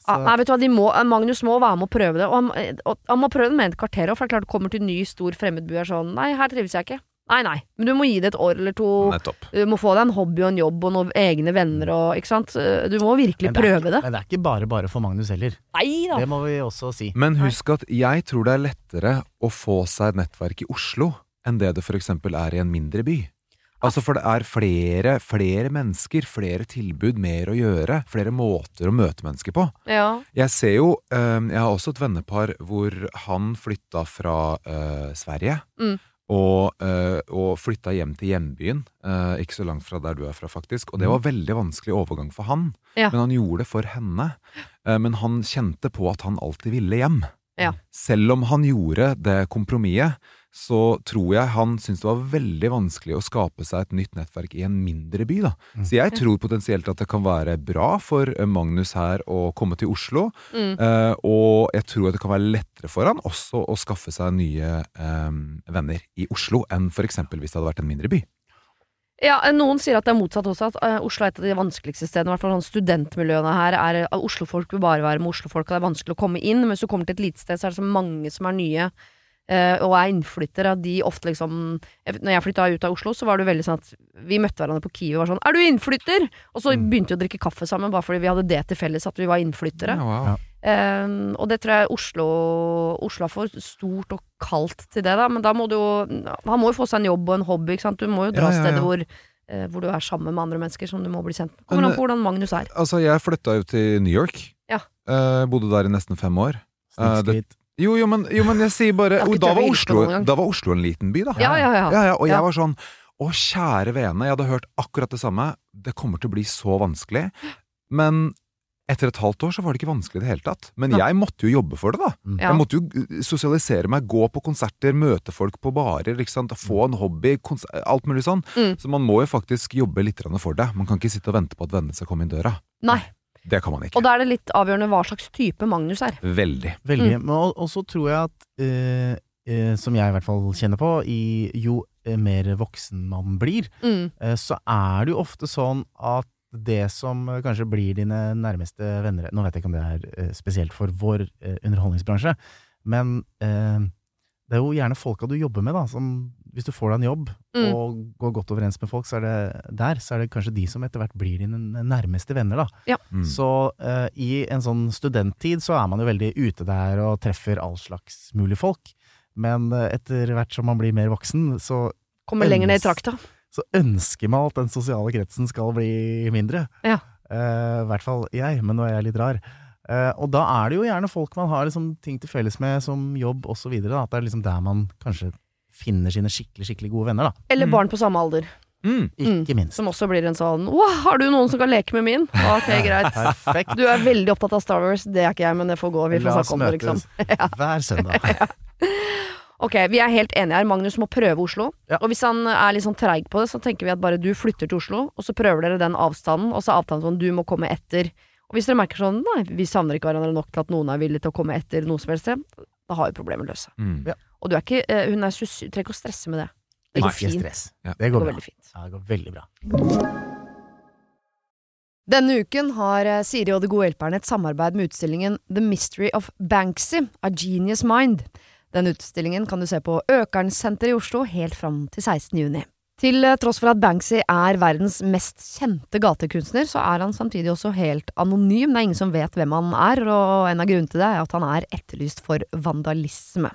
Speaker 2: Så,
Speaker 1: Ah, nei, vet du hva, de må, eh, Magnus må være med og prøve det, og han, eh, og han må prøve det med et kvarter òg, for det er klart kommer til en ny, stor fremmedby og er sånn Nei, her trives jeg ikke. Nei, nei, men du må gi det et år eller to.
Speaker 3: Nettopp.
Speaker 1: Du må få deg en hobby og en jobb og noen egne venner og Ikke sant? Du må virkelig
Speaker 2: Men det er
Speaker 1: prøve det.
Speaker 2: Men det er ikke bare bare for Magnus heller.
Speaker 1: Nei da.
Speaker 2: Det må vi også si.
Speaker 3: Men husk at jeg tror det er lettere å få seg et nettverk i Oslo enn det det for eksempel er i en mindre by. Altså, for det er flere, flere mennesker, flere tilbud, mer å gjøre, flere måter å møte mennesker på.
Speaker 1: Ja.
Speaker 3: Jeg ser jo eh, Jeg har også et vennepar hvor han flytta fra eh, Sverige.
Speaker 1: Mm.
Speaker 3: Og, eh, og flytta hjem til hjembyen, eh, ikke så langt fra der du er fra, faktisk. Og det var veldig vanskelig overgang for han,
Speaker 1: Mm. Ja.
Speaker 3: men han gjorde det for henne. Eh, men han kjente på at han alltid ville hjem.
Speaker 1: Ja.
Speaker 3: Selv om han gjorde det kompromisset, så tror jeg han syntes det var veldig vanskelig å skape seg et nytt nettverk i en mindre by. da.
Speaker 2: Mm.
Speaker 3: Så jeg tror potensielt at det kan være bra for eh, Magnus her å komme til Oslo.
Speaker 1: Mm.
Speaker 3: Eh, og jeg tror at det kan være lettere for han også å skaffe seg nye eh, venner i Oslo enn f.eks. hvis det hadde vært en mindre by.
Speaker 1: Ja, eh, Noen sier at det er motsatt også, at eh, Oslo er et av de vanskeligste stedene. I hvert fall sånn studentmiljøene her er eh, Oslofolk vil bare være med Oslofolk, og det er vanskelig å komme inn. Men hvis du kommer til et lite sted, så er det så mange som er nye eh, og er innflyttere. De ofte liksom jeg- Når jeg flytta ut av Oslo, så var det jo veldig sånn at vi møtte hverandre på Kiwi og var sånn 'Er du innflytter?' Og så
Speaker 3: Mm.
Speaker 1: begynte vi å drikke kaffe sammen bare fordi vi hadde det til felles at vi var innflyttere.
Speaker 3: Ja, wow.
Speaker 2: Ja.
Speaker 1: Eh, og det tror jeg Oslo, Oslo er for stort og kaldt til det, da. Men da må du jo Han må jo få seg en jobb og en hobby, ikke sant. Du må jo dra
Speaker 3: Ja, ja, ja.
Speaker 1: steder hvor, eh, hvor du er sammen med andre mennesker som du må bli kjent med. Kommer
Speaker 3: Men,
Speaker 1: an på hvordan Magnus er.
Speaker 3: Altså, jeg flytta jo til New York.
Speaker 1: Ja.
Speaker 3: Eh, bodde der i nesten fem år. Eh, det-
Speaker 2: Snikskritt.
Speaker 3: Jo, jo, men, jo, men jeg sier bare
Speaker 1: Jeg har
Speaker 3: oh,
Speaker 1: ikke
Speaker 3: da,
Speaker 1: turt å
Speaker 3: var
Speaker 1: hilse på
Speaker 3: Oslo,
Speaker 1: noen gang.
Speaker 3: da var Oslo en liten by, da.
Speaker 1: Ja, ja, ja.
Speaker 3: Ja, ja, og jeg
Speaker 1: Ja.
Speaker 3: var sånn Å, kjære vene, jeg hadde hørt akkurat det samme. Det kommer til å bli så vanskelig. Men etter et halvt år så var det ikke vanskelig i det hele tatt. Men
Speaker 1: Nei.
Speaker 3: jeg måtte jo jobbe for det, da.
Speaker 2: Mm.
Speaker 1: Ja.
Speaker 3: Jeg måtte jo uh, sosialisere meg, gå på konserter, møte folk på barer, ikke sant? få en hobby, kons- alt mulig sånn.
Speaker 1: Mm.
Speaker 3: Så man må jo faktisk jobbe litt grann for det. Man kan ikke sitte og vente på at vennene skal komme inn døra.
Speaker 1: Nei.
Speaker 3: Det kan man
Speaker 1: Og
Speaker 3: ikke.
Speaker 1: da er det litt avgjørende hva slags type Magnus er.
Speaker 3: Veldig.
Speaker 2: Veldig.
Speaker 1: Mm.
Speaker 2: Men og, og så tror jeg at, eh, eh, som jeg i hvert fall kjenner på, i, jo eh, mer voksen man blir,
Speaker 1: Mm.
Speaker 2: eh, så er det jo ofte sånn at det som eh, kanskje blir dine nærmeste venner Nå vet jeg ikke om det er eh, spesielt for vår eh, underholdningsbransje, men eh, det er jo gjerne folka du jobber med, da. Som, hvis du får deg en jobb
Speaker 1: Mm.
Speaker 2: og går godt overens med folk, så er det der, så er det kanskje de som etter hvert blir dine nærmeste venner, da.
Speaker 3: Mm.
Speaker 2: Så eh, i en sånn studenttid så er man jo veldig ute der og treffer all slags mulig folk. Men eh, etter hvert som man blir mer voksen, så,
Speaker 1: Kommer lenger ned i
Speaker 2: Elvis.
Speaker 1: trakta.
Speaker 2: så ønsker man at den sosiale kretsen skal bli mindre.
Speaker 1: Ja.
Speaker 2: Eh, I hvert fall jeg, men nå er jeg litt rar. Eh, og da er det jo gjerne folk man har liksom, ting til felles med, som jobb osv. At det er liksom der man kanskje finner sine skikkelig skikkelig gode venner. da.
Speaker 1: Eller
Speaker 3: Mm.
Speaker 1: barn på samme alder,
Speaker 3: Mm.
Speaker 1: Mm.
Speaker 2: Ikke minst.
Speaker 1: som også blir en sånn Å, har du noen som kan leke med min? Ok, greit.
Speaker 2: Perfekt.
Speaker 1: Du er veldig opptatt av Star Wars, det er ikke jeg, men det får gå. Vi får
Speaker 2: La oss
Speaker 1: snakke om det, liksom.
Speaker 2: møtes hver søndag.
Speaker 1: Ok, vi er helt enige her. Magnus må prøve Oslo.
Speaker 2: Ja.
Speaker 1: Og hvis han er litt sånn treig på det, så tenker vi at bare du flytter til Oslo, og så prøver dere den avstanden, og så er avtalen sånn du må komme etter. Og hvis dere merker sånn nei, vi savner ikke hverandre nok til at noen er villig til å komme etter noe som helst sted, da har vi problemet løst seg.
Speaker 3: Mm.
Speaker 2: Ja.
Speaker 1: Og du er ikke, eh, hun er 27, trenger ikke å stresse med det. Det går
Speaker 2: Ikke
Speaker 1: fint.
Speaker 2: stress.
Speaker 3: Ja.
Speaker 2: Det
Speaker 1: Det
Speaker 2: går
Speaker 1: går
Speaker 2: bra.
Speaker 1: veldig fint.
Speaker 2: Ja, det går veldig bra.
Speaker 1: Denne uken har eh, Siri og De gode hjelperne et samarbeid med utstillingen The Mystery of Banksy, A Genius Mind. Den utstillingen kan du se på Økernsenteret i Oslo helt fram til 16. juni. Til eh, tross for at Banksy er verdens mest kjente gatekunstner, så er han samtidig også helt anonym. Det er ingen som vet hvem han er, og en av grunnene til det er at han er etterlyst for vandalisme.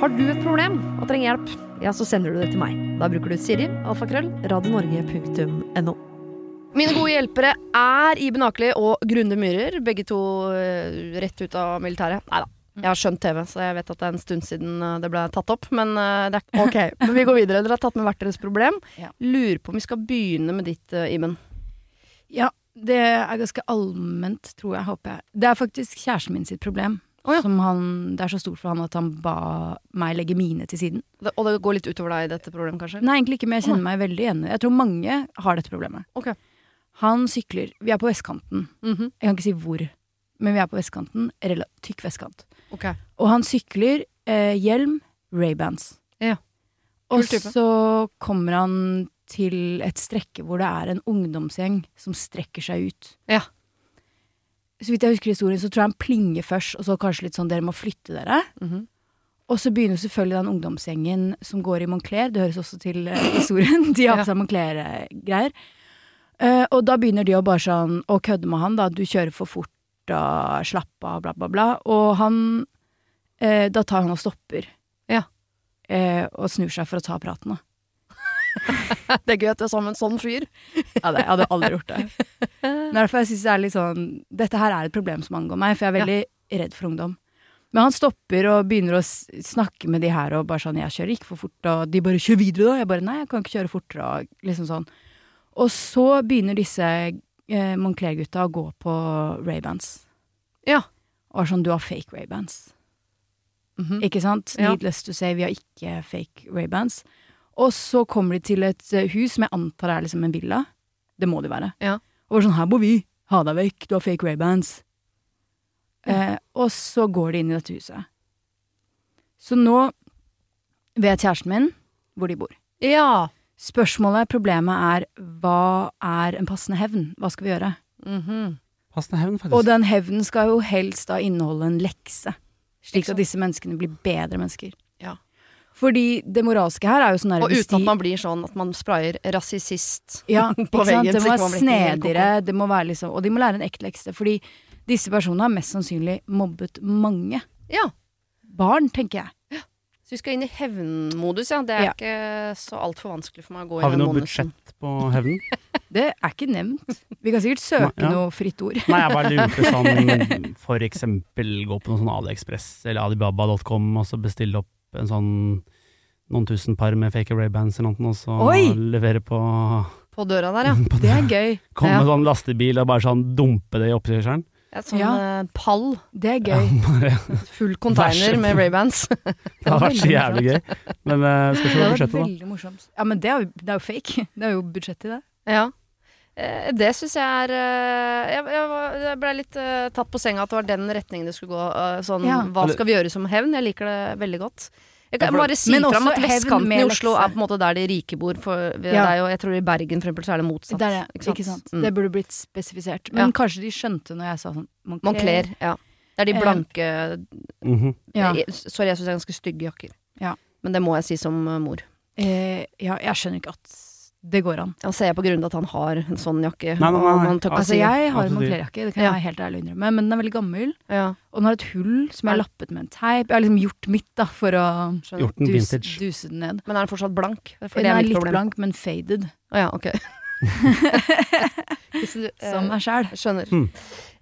Speaker 1: Har du et problem og trenger hjelp, ja, så sender du det til meg. Da bruker du Siri, alfakrøll, radionorge.no. Mine gode hjelpere er Iben Akeli og Grunde Myhrer, begge to eh, rett ut av militæret. Nei da. Jeg har skjønt TV, så jeg vet at det er en stund siden eh, det ble tatt opp. Men, eh, det er, ok, men vi går videre. Dere har tatt med hvert deres problem.
Speaker 5: Ja.
Speaker 1: Lurer på om vi skal begynne med ditt, eh, Iben.
Speaker 5: Ja, det er ganske allment, tror jeg, håper jeg. Det er faktisk kjæresten min sitt problem.
Speaker 1: Å ja.
Speaker 5: Som han, det er så stort for han at han ba meg legge mine til siden.
Speaker 1: Det, og det går litt utover deg i dette problemet, kanskje?
Speaker 5: Nei, egentlig ikke, men jeg kjenner meg veldig igjen. i det. Jeg tror mange har dette problemet.
Speaker 1: Ok.
Speaker 5: Han sykler Vi er på vestkanten.
Speaker 1: Mhm,
Speaker 5: Jeg kan ikke si hvor, men vi er på vestkanten. Rela tykk vestkant.
Speaker 1: ok.
Speaker 5: Og han sykler eh, hjelm, Ray-Bans.
Speaker 1: Ja.
Speaker 5: Og
Speaker 1: Kul type.
Speaker 5: så kommer han til et strekke hvor det er en ungdomsgjeng som strekker seg ut.
Speaker 1: Ja.
Speaker 5: Så vidt jeg husker historien, så tror jeg han plinger først, og så kanskje litt sånn 'dere må flytte dere'.
Speaker 1: Mhm.
Speaker 5: Og så begynner selvfølgelig den ungdomsgjengen som går i Moncler, det høres også til eh, historien, de har på seg Moncler-greier. Eh, og da begynner de å bare sånn å kødde med han, da. Du kjører for fort og slapp av, bla, bla, bla. Og han eh, Da tar han og stopper.
Speaker 1: Ja.
Speaker 5: Eh, og snur seg for å ta praten, da.
Speaker 1: Det er gøy at du er sammen med en sånn fyr.
Speaker 5: Ja, det, jeg hadde aldri gjort det. Det er Derfor jeg synes det er litt sånn Dette her er et problem som angår meg, for jeg er veldig redd for ungdom. Men han stopper og begynner å s- snakke med de her og bare sånn 'Jeg kjører ikke for fort', og de bare 'Kjør videre', da. Jeg bare 'Nei, jeg kan ikke kjøre fortere', og liksom sånn. Og så begynner disse eh, Moncler-gutta å gå på Ray-Bans.
Speaker 1: Ja.
Speaker 5: Og er sånn 'Du har fake Ray-Bans'.
Speaker 1: Mhm.
Speaker 5: Ikke sant?
Speaker 1: Ja.
Speaker 5: Needless to say, vi har ikke fake Ray-Bans. Og så kommer de til et eh, hus som jeg antar er liksom en villa. Det må det være.
Speaker 1: Ja.
Speaker 5: Og bare sånn, her bor vi. Ha deg vekk, du har fake Ray-Bans. Eh, og så går de inn i dette huset. Så nå vet kjæresten min hvor de bor.
Speaker 1: Ja.
Speaker 5: Spørsmålet, problemet er, hva er en passende hevn? Hva skal vi gjøre?
Speaker 1: Mhm.
Speaker 6: Passende hevn,
Speaker 5: Og
Speaker 6: faktisk.
Speaker 5: den hevnen skal jo helst da inneholde en lekse, slik
Speaker 1: Ikke sant?
Speaker 5: at disse menneskene blir bedre mennesker.
Speaker 1: Ja.
Speaker 5: Fordi det moralske her er jo sånn her
Speaker 1: Og
Speaker 5: hvis
Speaker 1: uten at
Speaker 5: de-
Speaker 1: man blir sånn at man sprayer rasist.
Speaker 5: Ja,
Speaker 1: på
Speaker 5: ikke sant?
Speaker 1: veggen,
Speaker 5: Det
Speaker 1: så
Speaker 5: må
Speaker 1: ikke man
Speaker 5: være
Speaker 1: blir helt
Speaker 5: snedigere, det må være liksom, og de må lære en ekte lekse. Fordi disse personene har mest sannsynlig mobbet mange
Speaker 1: Ja.
Speaker 5: barn, tenker jeg.
Speaker 1: Så vi skal inn i hevnmodus, ja. Det er
Speaker 5: Ja.
Speaker 1: ikke så altfor vanskelig for meg å gå
Speaker 6: Har vi
Speaker 1: inn i
Speaker 6: noe
Speaker 1: den modusen.
Speaker 6: budsjett på hevnen?
Speaker 5: Det er ikke nevnt. Vi kan sikkert søke
Speaker 6: Nei, ja.
Speaker 5: noe fritt ord.
Speaker 6: Nei, jeg bare lurte sånn For eksempel gå på noe sånn AliExpress eller Alibaba.com og så bestille opp en sånn noen tusen par med fake Ray-Bans eller noe, og så
Speaker 5: Oi!
Speaker 6: levere på,
Speaker 1: På døra der, ja.
Speaker 6: på
Speaker 5: Det er gøy.
Speaker 6: Komme
Speaker 1: Ja.
Speaker 6: med sånn lastebil og bare sånn dumpe det i oppkjørselen.
Speaker 1: Et sånn
Speaker 5: Ja.
Speaker 1: eh, pall.
Speaker 5: Det er gøy.
Speaker 6: Bare-
Speaker 1: Full container
Speaker 6: Vær så
Speaker 1: med Ray-Bans.
Speaker 6: Det hadde vært så
Speaker 5: veldig
Speaker 6: jævlig gøy. Men uh,
Speaker 5: Det
Speaker 6: skal se på
Speaker 5: var
Speaker 6: budsjettet, da.
Speaker 5: veldig morsomt. Ja, men det er, jo, det er jo fake. Det er jo budsjett i det.
Speaker 1: ja. Eh, Det syns jeg er eh, Jeg, jeg var- jeg blei litt eh, tatt på senga at det var den retningen det skulle gå. eh, Sånn
Speaker 5: Ja.
Speaker 1: hva skal vi gjøre som hevn? Jeg liker det veldig godt. Jeg
Speaker 6: Ja,
Speaker 1: kan
Speaker 6: for-
Speaker 1: bare si
Speaker 5: Men også
Speaker 1: fram at
Speaker 5: hevn
Speaker 1: vestkanten i
Speaker 5: med
Speaker 1: Oslo
Speaker 5: lekse.
Speaker 1: er på en måte der de rike bor. For det
Speaker 5: Ja.
Speaker 1: er jo, jeg tror i Bergen for eksempel så er det motsatt.
Speaker 5: Det, er det. Ikke sant?
Speaker 1: Mm.
Speaker 5: det burde blitt spesifisert.
Speaker 1: Ja.
Speaker 5: Men kanskje de skjønte når jeg sa sånn
Speaker 1: Moncler, ja. Det er de
Speaker 5: Eh,
Speaker 1: blanke
Speaker 6: Mhm.
Speaker 5: Ja.
Speaker 1: eh, Sorry, jeg syns det er ganske stygge jakker.
Speaker 5: Ja.
Speaker 1: Men det må jeg si som eh, mor.
Speaker 5: Eh, ja, jeg skjønner ikke at det går an.
Speaker 1: Og så er jeg på grunn av at han har en sånn jakke.
Speaker 6: Nei, nei, nei,
Speaker 1: og
Speaker 6: nei.
Speaker 1: han tør ikke
Speaker 6: Hva
Speaker 5: Altså,
Speaker 1: si det.
Speaker 5: jeg har
Speaker 6: Hva
Speaker 5: en
Speaker 6: sier du?
Speaker 5: Moncler-jakke, det kan
Speaker 1: Ja.
Speaker 5: jeg helt ærlig innrømme, men den er veldig gammel.
Speaker 1: ja,
Speaker 5: Og den har et hull som jeg har lappet med en teip. Jeg har liksom gjort mitt da, for å
Speaker 1: skjønner.
Speaker 6: Gjort den
Speaker 5: dus,
Speaker 6: vintage.
Speaker 5: duse den ned.
Speaker 1: Men er den fortsatt blank? Det er
Speaker 5: Den
Speaker 1: det
Speaker 5: er
Speaker 1: mitt
Speaker 5: litt
Speaker 1: problem.
Speaker 5: blank, men faded,
Speaker 1: Å ja, ok. Hvis du, eh,
Speaker 5: som meg sjæl.
Speaker 1: Skjønner.
Speaker 6: Hmm.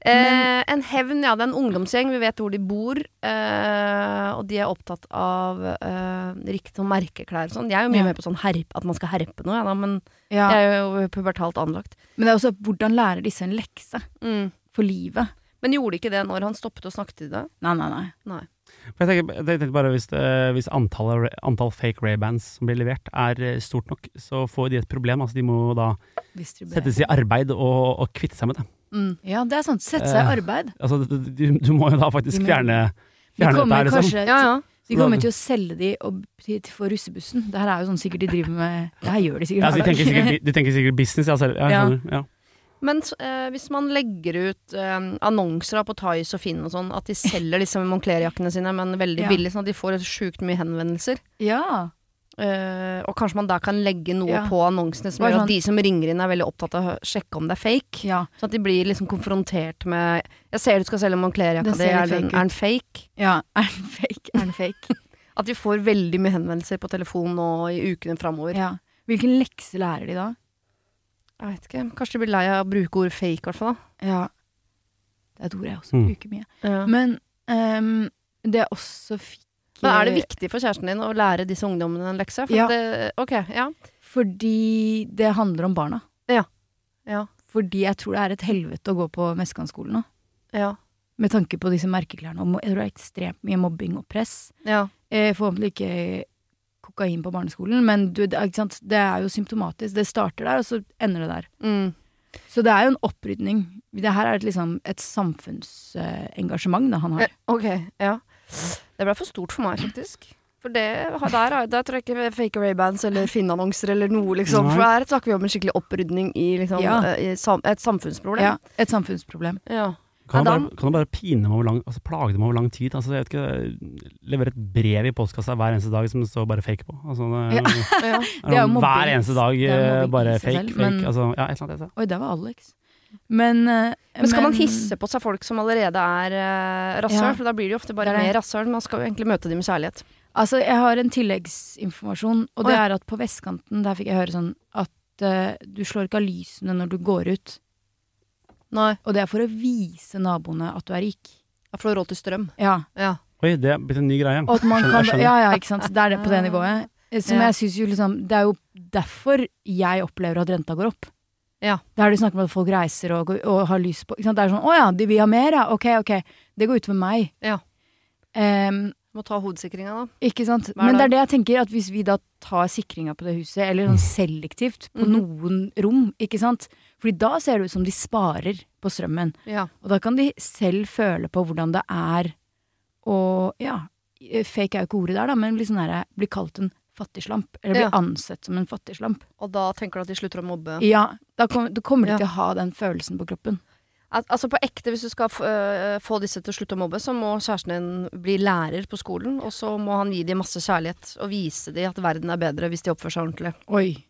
Speaker 1: Eh, en hevn, ja. Det er en ungdomsgjeng. Vi vet hvor de bor. Eh, og de er opptatt av eh, riktig sånn merkeklær og sånn. Jeg er jo mye
Speaker 5: Ja.
Speaker 1: mer på sånn herp, at man skal herpe noe, ja, da, men
Speaker 5: Ja.
Speaker 1: jeg er jo pubertalt anlagt.
Speaker 5: Men det er også hvordan lærer disse en lekse
Speaker 1: Mm.
Speaker 5: for livet?
Speaker 1: Men gjorde ikke det når han stoppet og snakket til deg?
Speaker 5: Nei, nei, nei.
Speaker 6: For Jeg tenker, jeg tenkte bare hvis, det, hvis antall, antall fake Ray-Bans som blir levert er eh, stort nok, så får de et problem. Altså, de må da
Speaker 5: Distribuere.
Speaker 6: settes i arbeid og, og kvitte seg med det. Eh,
Speaker 5: Mm. Ja, det er sant. Sette seg i arbeid.
Speaker 6: Altså, du, du, du må jo da faktisk
Speaker 5: Du må-
Speaker 6: fjerne
Speaker 5: De
Speaker 6: Fjerne dette
Speaker 5: kommer
Speaker 6: her, liksom.
Speaker 5: kanskje
Speaker 1: Ja, ja.
Speaker 5: De kommer til å selge de og, til, til for russebussen. Det her er jo sånn sikkert de driver med Det her gjør de
Speaker 6: Ja,
Speaker 5: sikkert
Speaker 6: så de,
Speaker 5: hver
Speaker 6: tenker
Speaker 5: dag.
Speaker 6: sikkert, de tenker sikkert business, ja. selv-
Speaker 5: Ja.
Speaker 6: ja, jeg skjønner, ja.
Speaker 1: Men eh, hvis man legger ut eh, annonser da på Thais og Finn og sånn, at de selger liksom Moncler-jakkene sine, men veldig
Speaker 5: Ja.
Speaker 1: billig, sånn at de får sjukt mye henvendelser.
Speaker 5: Ja.
Speaker 1: Eh, og kanskje man der kan legge noe
Speaker 5: Ja.
Speaker 1: på annonsene som
Speaker 5: Bare
Speaker 1: gjør
Speaker 5: sånn-
Speaker 1: at de som ringer inn er veldig opptatt av å hø- sjekke om det er fake.
Speaker 5: ja.
Speaker 1: Sånn at de blir liksom konfrontert med Jeg ser du skal selge Moncler-jakka
Speaker 5: Den
Speaker 1: di,
Speaker 5: ser
Speaker 1: er den
Speaker 5: litt fake ut.
Speaker 1: er den fake?
Speaker 5: Ja. Er den fake? Er den fake?
Speaker 1: At vi får veldig mye henvendelser på telefon nå i ukene framover.
Speaker 5: Ja. Hvilken lekse lærer de da?
Speaker 1: Jeg vet ikke. Kanskje de blir lei av å bruke ordet fake, i hvert fall.
Speaker 5: Ja. Det er et ord jeg også
Speaker 6: Mm.
Speaker 5: bruker mye.
Speaker 1: da. Ja.
Speaker 5: Men ehm, det jeg også fikk
Speaker 1: Men er det viktig for kjæresten din å lære disse ungdommene en lekse? For
Speaker 5: Ja.
Speaker 1: det, ok, ja.
Speaker 5: eh, Fordi det handler om barna.
Speaker 1: Ja. Ja.
Speaker 5: Fordi jeg tror det er et helvete å gå på Mestkanskolen nå.
Speaker 1: Ja.
Speaker 5: Med tanke på disse merkeklærne. Og mo- jeg tror det er ekstremt mye mobbing og press.
Speaker 1: ja.
Speaker 5: Eh, forhåpentlig ikke kokain på barneskolen, men du, det, er- ikke sant? det er jo symptomatisk. Det starter der, og så ender det der.
Speaker 1: Mm.
Speaker 5: Så det er jo en opprydning. Det her er et, liksom, et samfunnsengasjement da han har.
Speaker 1: Eh, Ok, ja. Det ble for stort for meg, faktisk. For det, har- der, har- der tror jeg ikke fake Ray-bands eller Finn-annonser eller noe, liksom.
Speaker 6: Nei.
Speaker 1: For her snakker vi om en skikkelig opprydning i, liksom,
Speaker 5: Ja.
Speaker 1: eh, i sam et samfunnsproblem.
Speaker 5: Ja, et samfunnsproblem.
Speaker 1: Ja.
Speaker 6: Kan
Speaker 1: Ja, da-
Speaker 6: du bare, kan du bare pine dem over lang, altså plage dem over lang tid? Altså, jeg vet ikke, Levere et brev i postkassa hver eneste dag som det står bare fake på. Altså, det,
Speaker 1: Ja.
Speaker 5: Det er jo mobbing.
Speaker 6: hver eneste dag
Speaker 5: Det er
Speaker 6: eh,
Speaker 5: mobbing i
Speaker 6: bare
Speaker 5: seg
Speaker 6: fake,
Speaker 5: selv,
Speaker 6: fake.
Speaker 5: men-
Speaker 6: Altså, ja, et eller annet. et eller annet.
Speaker 5: Oi, der var Alex. Men, eh,
Speaker 1: Men skal man hisse på seg folk som allerede er eh, rasshøl?
Speaker 5: Ja.
Speaker 1: For da blir de ofte bare
Speaker 5: Det er det.
Speaker 1: mer rasshøl. Man skal jo egentlig møte dem med kjærlighet.
Speaker 5: Altså, jeg har en tilleggsinformasjon, og det
Speaker 1: Å, ja.
Speaker 5: er at på vestkanten, der fikk jeg høre sånn at eh, du slår ikke av lysene når du går ut.
Speaker 1: Nei,
Speaker 5: Og det er for å vise naboene at du er rik.
Speaker 1: jeg får råd til strøm.
Speaker 5: Ja.
Speaker 1: Ja.
Speaker 6: Oi, det er blitt en ny greie.
Speaker 5: Og at man
Speaker 6: Skjønner,
Speaker 5: kan
Speaker 6: jeg skjønner.
Speaker 5: Ja, ja, ikke sant. Det er det på det nivået. Eh, Som
Speaker 1: Ja.
Speaker 5: jeg synes jo liksom Det er jo derfor jeg opplever at renta går opp.
Speaker 1: Ja.
Speaker 5: Det er det snakk om at folk reiser og, går- og har lys på ikke sant? Det er sånn 'Å ja, de vil ha mer, ja. Ok, ok.' Det går utover meg.
Speaker 1: Ja.
Speaker 5: Em,
Speaker 1: Må ta hodesikringa, da.
Speaker 5: ikke sant?
Speaker 1: Hver
Speaker 5: Men det
Speaker 1: dag.
Speaker 5: er det jeg tenker, at hvis vi da tar sikringa på det huset, eller sånn selektivt
Speaker 1: Mhm.
Speaker 5: på noen rom, ikke sant Fordi da ser det ut som de sparer på strømmen.
Speaker 1: Ja.
Speaker 5: Og da kan de selv føle på hvordan det er å Ja, fake er jo ikke ordet der, da, men bli, sånn her, bli kalt en fattigslamp. Eller bli
Speaker 1: Ja.
Speaker 5: ansett som en fattigslamp.
Speaker 1: Og da tenker du at de slutter å mobbe?
Speaker 5: Ja, da, kom, da kommer de
Speaker 1: Ja.
Speaker 5: til å ha den følelsen på kroppen.
Speaker 1: Al altså på ekte, hvis du skal f øh, få disse til å slutte å mobbe, så må kjæresten din bli lærer på skolen, og så må han gi dem masse kjærlighet og vise dem at verden er bedre hvis de oppfører seg ordentlig.
Speaker 5: Oi.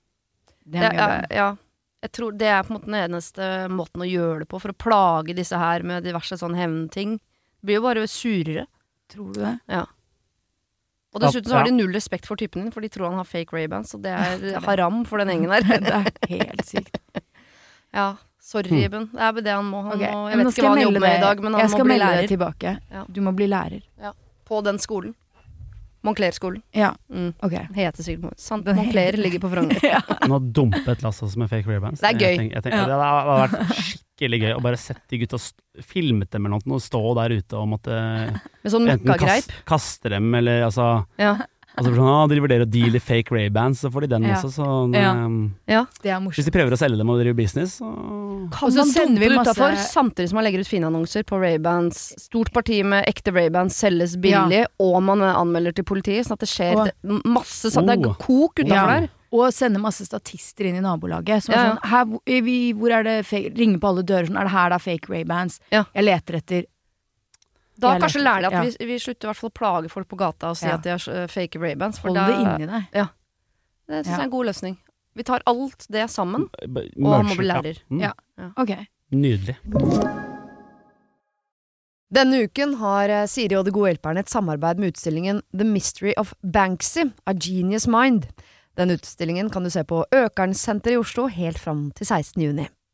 Speaker 5: Det
Speaker 1: Det
Speaker 5: er mye
Speaker 1: er,
Speaker 5: av det.
Speaker 1: ja, jeg tror det er på en måte den eneste måten å gjøre det på, for å plage disse her med diverse sånn hevnting. Det blir jo bare surere.
Speaker 5: Tror du det?
Speaker 1: Og dessuten så
Speaker 6: Ja.
Speaker 1: har de null respekt for typen din, for de tror han har fake Ray-bands, og det er haram for
Speaker 5: Mm.
Speaker 1: den gjengen der.
Speaker 5: Det er helt sykt.
Speaker 1: Ja, sorry, Iben. Det er bare det han må. Han
Speaker 5: Mm. Ok,
Speaker 1: må
Speaker 5: men
Speaker 1: jeg
Speaker 5: nå
Speaker 1: vet
Speaker 5: skal
Speaker 1: ikke hva han
Speaker 5: melde
Speaker 1: jobber med i
Speaker 5: det-
Speaker 1: dag, men
Speaker 5: jeg
Speaker 1: han
Speaker 5: skal
Speaker 1: må bli
Speaker 5: melde
Speaker 1: lærer
Speaker 5: det tilbake.
Speaker 1: Ja.
Speaker 5: Du må bli lærer.
Speaker 1: på den skolen. Moncler-skolen.
Speaker 5: Ja,
Speaker 1: Mm.
Speaker 5: ok.
Speaker 1: Heter sikkert Mon- Sant, Moncler ligger på Frogner.
Speaker 6: Hun har dumpet Lasse med fake rearbands.
Speaker 1: Det er gøy.
Speaker 6: Jeg tenker, jeg tenker, Det hadde vært skikkelig gøy å bare sett de gutta st filmet dem eller noe, og stå der ute og måtte
Speaker 1: Med sånn
Speaker 6: enten
Speaker 1: møkkagreip.
Speaker 6: kaste, kaste dem eller altså
Speaker 1: Ja.
Speaker 6: Altså sånn, ah, De vurderer å deale fake Ray-bands, så får de den
Speaker 5: Ja.
Speaker 6: også. Sånn,
Speaker 5: Ja.
Speaker 6: ehm,
Speaker 5: Det er
Speaker 6: hvis
Speaker 5: morsomt.
Speaker 6: de prøver å selge dem og drive business, så
Speaker 1: Kan
Speaker 5: Og så
Speaker 1: man
Speaker 5: sender
Speaker 1: dumpe
Speaker 5: vi
Speaker 1: det
Speaker 5: masse-
Speaker 1: utafor samtidig som man legger ut fine annonser på Ray-Bans? Stort parti med ekte Ray-Bans selges billig, og man anmelder til politiet. Sånn at det skjer
Speaker 5: Åh.
Speaker 1: det- masse sånn. Det
Speaker 6: Oh.
Speaker 1: er kok utafor
Speaker 5: Ja.
Speaker 1: der.
Speaker 5: Og sende masse statister inn i nabolaget. Som er
Speaker 1: Ja, ja.
Speaker 5: sånn, her, hvor- er vi, hvor er det fake, Ringe på alle dører sånn, er det her det er fake Ray-bands?
Speaker 1: Ja.
Speaker 5: Jeg leter etter
Speaker 1: Da
Speaker 5: Jeg
Speaker 1: kanskje lærer
Speaker 5: lærte-
Speaker 1: de at
Speaker 5: ja.
Speaker 1: vi, vi slutter i hvert fall å plage folk på gata og si
Speaker 5: Ja.
Speaker 1: at de er eh, fake Ray-Bans. For
Speaker 5: Hold
Speaker 1: da,
Speaker 5: det inni deg.
Speaker 1: det syns jeg
Speaker 5: Ja.
Speaker 1: er en god løsning. Vi tar alt det sammen,
Speaker 6: b-
Speaker 1: og han må
Speaker 6: merger-
Speaker 1: bli lærer.
Speaker 6: Ja. Mm,
Speaker 5: Ja. Ok.
Speaker 6: Nydelig.
Speaker 1: Denne uken har eh, Siri og De gode hjelperne et samarbeid med utstillingen The Mystery of Banksy, A Genius Mind. Den utstillingen kan du se på Økernsenteret i Oslo helt fram til 16. juni.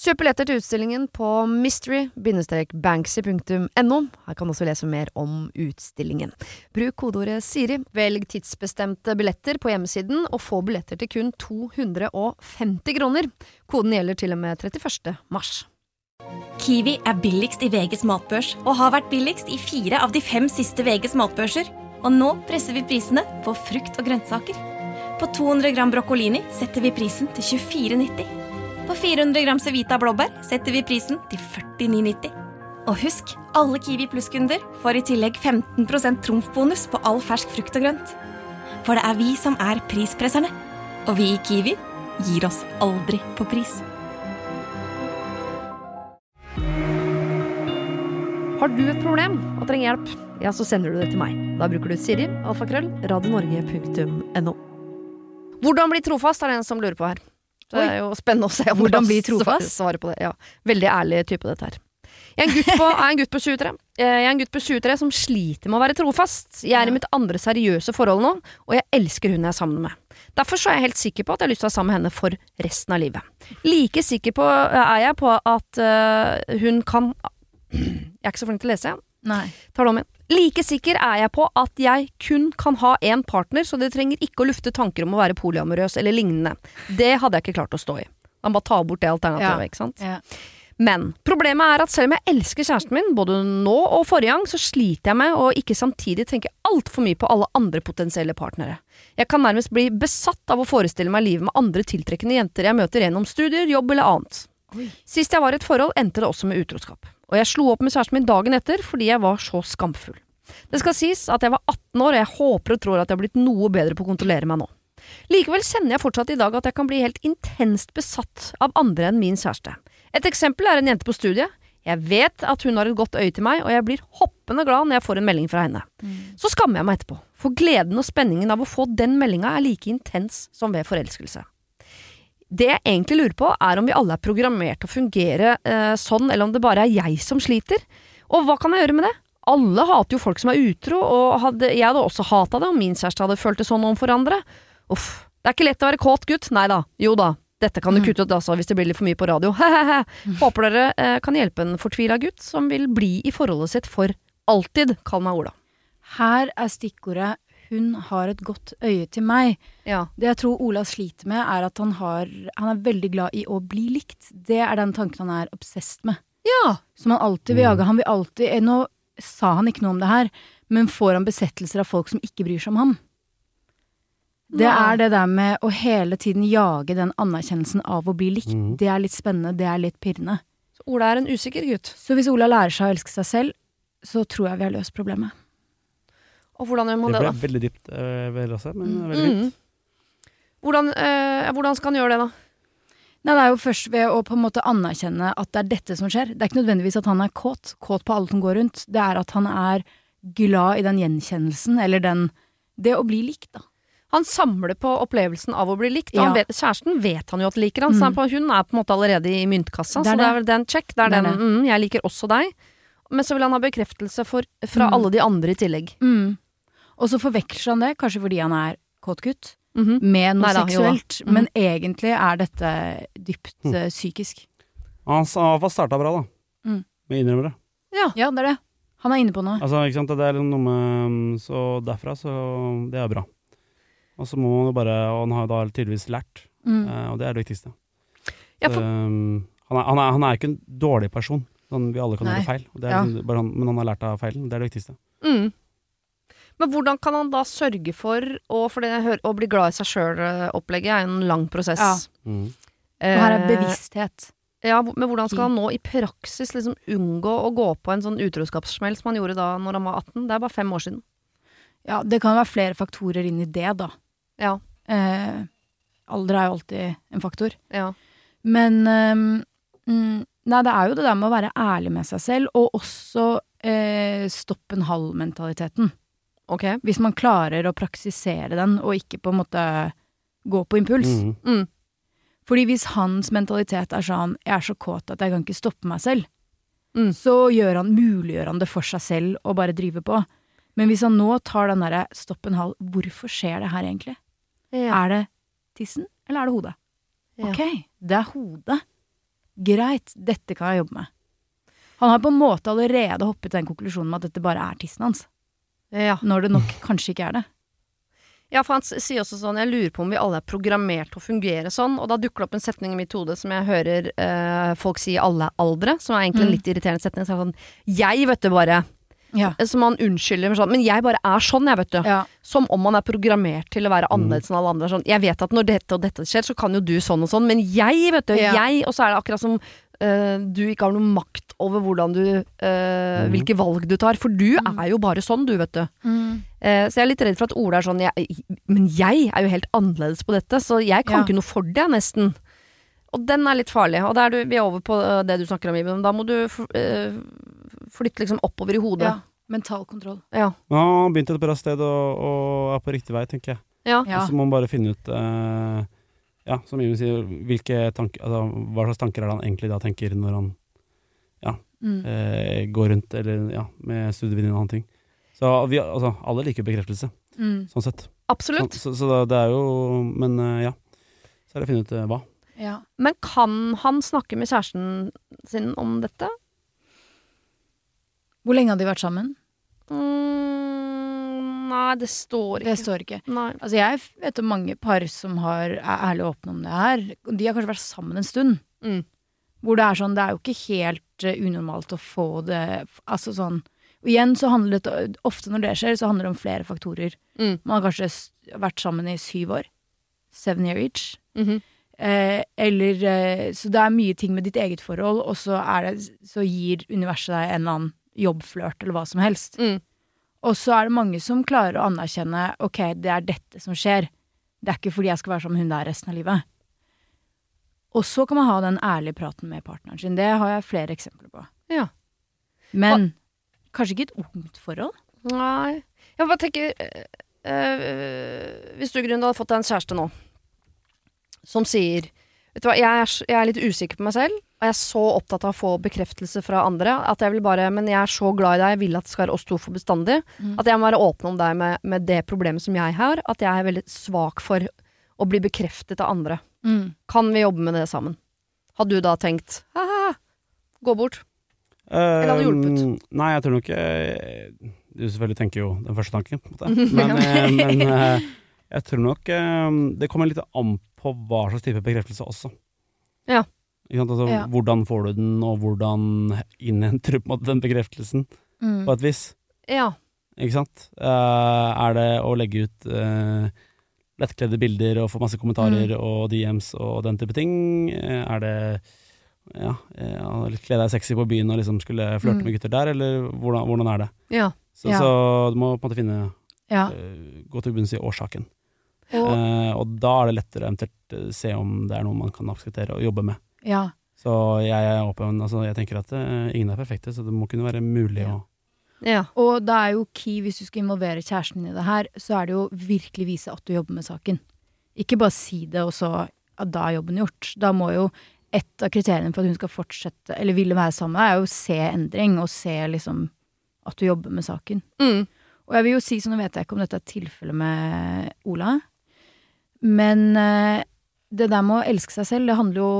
Speaker 1: Kjøp billetter til utstillingen på mystery-banksy.no. Her kan du også lese mer om utstillingen. Bruk kodeordet Siri, velg tidsbestemte billetter på hjemmesiden, og få billetter til kun 250 kroner. Koden gjelder til og med 31. mars.
Speaker 4: Kiwi er billigst i VGs matbørs og har vært billigst i fire av de fem siste VGs matbørser. Og nå presser vi prisene på frukt og grønnsaker. På 200 gram broccolini setter vi prisen til 24,90. På 400 gram Cevita blåbær setter vi prisen til 49,90. Og husk, alle Kiwi Pluss-kunder får i tillegg 15 trumfbonus på all fersk frukt og grønt. For det er vi som er prispresserne. Og vi i Kiwi gir oss aldri på pris.
Speaker 1: Har du et problem og trenger hjelp, ja, så sender du det til meg. Da bruker du Siri, alfakrøll, radionorge.no. Hvordan bli trofast, er det en som lurer på her. Så det er jo spennende å se om
Speaker 5: Hvordan
Speaker 1: du
Speaker 5: bli
Speaker 1: svar-
Speaker 5: trofast?
Speaker 1: Svarer på det. Ja. Veldig ærlig type, dette her. Jeg er, en gutt på, jeg er en gutt på 23 Eh, Jeg er en gutt på 23 som sliter med å være trofast. Jeg er i mitt andre seriøse forhold nå, og jeg elsker hun jeg er sammen med. Derfor så er jeg helt sikker på at jeg har lyst til å være sammen med henne for resten av livet. Like sikker på, er jeg på at eh, hun kan Jeg er ikke så flink til å lese,
Speaker 5: Nei.
Speaker 1: tar det om igjen. Like sikker er jeg på at jeg kun kan ha én partner, så dere trenger ikke å lufte tanker om å være polyamorøs eller lignende. Det hadde jeg ikke klart å stå i. Han bare tar bort det alternativet,
Speaker 5: Ja.
Speaker 1: ikke sant.
Speaker 5: Ja.
Speaker 1: Men problemet er at selv om jeg elsker kjæresten min, både nå og forrige gang, så sliter jeg med å ikke samtidig tenke altfor mye på alle andre potensielle partnere. Jeg kan nærmest bli besatt av å forestille meg livet med andre tiltrekkende jenter jeg møter gjennom studier, jobb eller annet. Sist jeg var i et forhold, endte det også med utroskap. Og jeg slo opp med kjæresten min dagen etter fordi jeg var så skamfull. Det skal sies at jeg var 18 år, og jeg håper og tror at jeg har blitt noe bedre på å kontrollere meg nå. Likevel kjenner jeg fortsatt i dag at jeg kan bli helt intenst besatt av andre enn min kjæreste. Et eksempel er en jente på studiet. Jeg vet at hun har et godt øye til meg, og jeg blir hoppende glad når jeg får en melding fra henne. Så skammer jeg meg etterpå, for gleden og spenningen av å få den meldinga er like intens som ved forelskelse. Det jeg egentlig lurer på, er om vi alle er programmert til å fungere eh, sånn, eller om det bare er jeg som sliter. Og hva kan jeg gjøre med det? Alle hater jo folk som er utro, og hadde, jeg hadde også hata det om min kjæreste hadde følt det sånn overfor andre. Uff, det er ikke lett å være kåt gutt. Nei da, jo da. Dette kan du
Speaker 5: Mm.
Speaker 1: kutte ut altså, hvis det blir litt for mye på radio. Håper dere eh, kan hjelpe en fortvila gutt som vil bli i forholdet sitt for alltid. Kall meg Ola.
Speaker 5: Her er stikkordet 'hun har et godt øye til meg'.
Speaker 1: Ja.
Speaker 5: Det jeg tror Ola sliter med, er at han, har, han er veldig glad i å bli likt. Det er den tanken han er obsesst med.
Speaker 1: Ja.
Speaker 5: Som han alltid vil jage. Han vil alltid eh, Nå sa han ikke noe om det her, men får han besettelser av folk som ikke bryr seg om ham? Det
Speaker 1: Nei.
Speaker 5: er det der med å hele tiden jage den anerkjennelsen av å bli likt.
Speaker 6: Mhm.
Speaker 5: Det er litt spennende, det er litt pirrende.
Speaker 1: Så Ola er en usikker gutt.
Speaker 5: Så hvis Ola lærer seg å elske seg selv, så tror jeg vi har løst problemet.
Speaker 1: Og hvordan gjør man
Speaker 6: Det
Speaker 1: det,
Speaker 6: ble
Speaker 1: da?
Speaker 6: veldig dypt, eh, vel også, men veldig fint.
Speaker 1: Mm. Hvordan, eh, hvordan skal han gjøre det, da?
Speaker 5: Nei, Det er jo først ved å på en måte anerkjenne at det er dette som skjer. Det er ikke nødvendigvis at han er kåt, kåt på alle som går rundt. Det er at han er glad i den gjenkjennelsen, eller den Det å bli likt, da.
Speaker 1: Han samler på opplevelsen av å bli likt. og
Speaker 5: Ja.
Speaker 1: Han vet, kjæresten vet han jo at liker han, så
Speaker 5: Mm.
Speaker 1: han- hun er på en måte allerede i myntkassa.
Speaker 5: Det er
Speaker 1: så det
Speaker 5: det.
Speaker 1: er vel den check. Det er
Speaker 5: Det er
Speaker 1: den mm, 'jeg liker også deg'. Men så vil han ha bekreftelse for, fra
Speaker 5: Mm.
Speaker 1: alle de andre i tillegg.
Speaker 5: Mm. Og så forveksler han det, kanskje fordi han er kåt gutt,
Speaker 1: Mhm.
Speaker 5: med noe
Speaker 1: Nei da, jo da.
Speaker 5: seksuelt.
Speaker 1: Mm.
Speaker 5: Men egentlig er dette dypt eh, psykisk.
Speaker 6: Han sa- han starta bra, da.
Speaker 5: Mm.
Speaker 6: Men jeg innrømmer det.
Speaker 5: Ja, det er det. Han er inne på noe.
Speaker 6: Altså, ikke sant? Det er liksom noe med mm, Så derfra, så Det er bra. Og så må man jo bare Og han har da tydeligvis lært,
Speaker 5: Mm.
Speaker 6: eh, og det er det viktigste.
Speaker 1: Ja,
Speaker 6: Så,
Speaker 1: for-
Speaker 6: um, han, er, han, er, han er ikke en dårlig person. Sånn, vi alle kan
Speaker 5: Nei.
Speaker 6: gjøre feil, og det er
Speaker 5: Ja.
Speaker 6: liksom bare han, men han har lært av feilen. Det er det viktigste.
Speaker 1: Mm. Men hvordan kan han da sørge for å, for det jeg hører, å bli eh, glad i seg sjøl-opplegget er en lang prosess.
Speaker 5: Ja.
Speaker 6: Mm.
Speaker 1: Eh.
Speaker 5: Og her er bevissthet.
Speaker 1: Ja, hvor- men hvordan skal han nå i praksis liksom unngå å gå på en sånn utroskapssmell som han gjorde da når han var 18? Det er bare fem år siden.
Speaker 5: Ja, det kan være flere faktorer inn i det, da.
Speaker 1: Ja.
Speaker 5: Eh, alder er jo alltid en faktor.
Speaker 1: Ja.
Speaker 5: Men ehm, mm, Nei, det er jo det der med å være ærlig med seg selv, og også eh, stopp en halv-mentaliteten.
Speaker 1: Ok.
Speaker 5: Hvis man klarer å praksisere den, og ikke på en måte gå på impuls.
Speaker 6: Mhm.
Speaker 5: Fordi hvis hans mentalitet er sånn 'jeg er så kåt at jeg kan ikke stoppe meg selv',
Speaker 1: Mm.
Speaker 5: så gjør han, muliggjør han det for seg selv å bare drive på. Men hvis han nå tar den derre 'stopp en hal', hvorfor skjer det her egentlig?
Speaker 1: Ja.
Speaker 5: Er det tissen, eller er det hodet?
Speaker 1: Ja.
Speaker 5: Ok, det er hodet. Greit, dette kan jeg jobbe med. Han har på en måte allerede hoppet til den konklusjonen med at dette bare er tissen hans,
Speaker 1: Eh, Ja.
Speaker 5: når det nok kanskje ikke er det.
Speaker 1: ja, for han s- sier også sånn Jeg lurer på om vi alle er programmert til å fungere sånn. Og da dukker det opp en setning i mitt hode som jeg hører eh, folk si i alle aldre, som er egentlig en
Speaker 5: Mm.
Speaker 1: litt irriterende setning. Så er det sånn Jeg, vet du, bare.
Speaker 5: Ja.
Speaker 1: Som han unnskylder med sånn Men jeg bare er sånn, jeg, vet du.
Speaker 5: Ja.
Speaker 1: Som om man er programmert til å være annerledes enn alle andre. Sånn, jeg vet at når dette og dette skjer, så kan jo du sånn og sånn, men jeg, vet du,
Speaker 5: Ja.
Speaker 1: jeg Og så er det akkurat som eh, du ikke har noen makt over hvordan du eh, hvilke valg du tar. For du
Speaker 5: Mm.
Speaker 1: er jo bare sånn, du, vet du. Eh, så jeg er litt redd for at Ola er sånn jeg, Men jeg er jo helt annerledes på dette, så jeg kan
Speaker 5: Ja.
Speaker 1: ikke noe for det, nesten. Og den er litt farlig. Og da er du, vi er over på eh, det du snakker om, Iben. Da må du f- eh, flytte liksom oppover i hodet.
Speaker 5: ja. Mental kontroll.
Speaker 1: Ja.
Speaker 6: Ja, han begynte et bra sted og, og er på riktig vei, tenker jeg.
Speaker 1: Ja.
Speaker 5: Ja.
Speaker 6: Og så må man bare finne ut eh, Ja, som Jimmy sier, hvilke tanker, altså, hva slags tanker er det han egentlig da tenker når han
Speaker 5: Mm.
Speaker 6: eh, går rundt eller, ja, med studievenninne og annen ting. Så vi, altså, alle liker jo bekreftelse,
Speaker 5: Mm.
Speaker 6: sånn sett. Så,
Speaker 1: Absolutt.
Speaker 6: så, så da- det er jo Men eh, ja. Så er det å finne ut eh, hva.
Speaker 5: Ja.
Speaker 1: Men kan han snakke med kjæresten sin om dette?
Speaker 5: Hvor lenge har de vært sammen?
Speaker 1: Mm, nei, det står
Speaker 5: Det
Speaker 1: ikke.
Speaker 5: står ikke.
Speaker 1: Nei.
Speaker 5: Altså jeg vet om mange par som har, er ærlig og åpne om det her. og De har kanskje vært sammen en stund.
Speaker 1: Mm.
Speaker 5: Hvor det er sånn, det er jo ikke helt eh, unormalt å få det Altså sånn Og igjen så handler det Ofte når det skjer, så handler det om flere faktorer.
Speaker 1: Mm.
Speaker 5: Man har kanskje s- vært sammen i syv år. Seven year each.
Speaker 1: Mhm.
Speaker 5: Eh, eller eh, Så det er mye ting med ditt eget forhold, og så, er det, så gir universet deg en eller annen jobbflørt eller hva som helst.
Speaker 1: Mm.
Speaker 5: Og så er det mange som klarer å anerkjenne ok, det er dette som skjer. Det er ikke fordi jeg skal være som hun der resten av livet. Og så kan man ha den ærlige praten med partneren sin. Det har jeg flere eksempler på.
Speaker 1: Ja.
Speaker 5: Men kanskje ikke et ungt forhold?
Speaker 1: Nei. Jeg bare tenker eh, eh, Hvis du, Grunde, hadde fått deg en kjæreste nå som sier Vet du hva, jeg er, s- jeg er litt usikker på meg selv, og jeg er så opptatt av å få bekreftelse fra andre at jeg vil bare Men jeg er så glad i deg, jeg vil at det skal være oss to for bestandig.
Speaker 5: Mm.
Speaker 1: At jeg må være åpen om deg med, med det problemet som jeg har, at jeg er veldig svak for å bli bekreftet av andre.
Speaker 5: Mm.
Speaker 1: Kan vi jobbe med det sammen? Hadde du da tenkt «Haha, Gå bort.
Speaker 6: Eller
Speaker 1: hadde hjulpet?
Speaker 6: Ehm, Nei, jeg tror nok ikke Du selvfølgelig tenker jo den første tanken, på en måte. Men, eh, men eh, jeg tror nok eh, Det kommer litt an på hva slags type bekreftelse også.
Speaker 1: Ja.
Speaker 6: Ikke sant? Altså,
Speaker 5: Ja.
Speaker 6: Hvordan får du den, og hvordan innhenter du på en måte den bekreftelsen,
Speaker 5: Mm.
Speaker 6: på et vis?
Speaker 1: Ja.
Speaker 6: Ikke sant? Eh, er det å legge ut eh, lettkledde bilder og få masse kommentarer
Speaker 5: Mm.
Speaker 6: og DMs og den type ting? Eh, er det ja, eh, kle deg sexy på byen og liksom skulle flørte
Speaker 5: Mm.
Speaker 6: med gutter der, eller hvordan, hvordan er det?
Speaker 1: Ja.
Speaker 6: Så,
Speaker 5: Ja.
Speaker 6: så du må på en måte finne
Speaker 5: Ja.
Speaker 6: eh, Gå til bunns i årsaken.
Speaker 5: Og,
Speaker 6: Eh, og da er det lettere eventuelt eh, se om det er noe man kan akseptere og jobbe med.
Speaker 5: ja.
Speaker 6: Så jeg er åpen, altså jeg tenker at eh, ingen er perfekte, så det må kunne være mulig å
Speaker 1: Ja.
Speaker 5: og da er jo key, hvis du skal involvere kjæresten din i det her, så er det jo virkelig vise at du jobber med saken. Ikke bare si det, og så ja, da er jobben gjort. Da må jo et av kriteriene for at hun skal fortsette, eller ville være sammen med deg, er jo å se endring, og se liksom at du jobber med saken.
Speaker 1: Mm.
Speaker 5: Og jeg vil jo si, så nå vet jeg ikke om dette er tilfellet med Ola, men eh, det der med å elske seg selv, det handler jo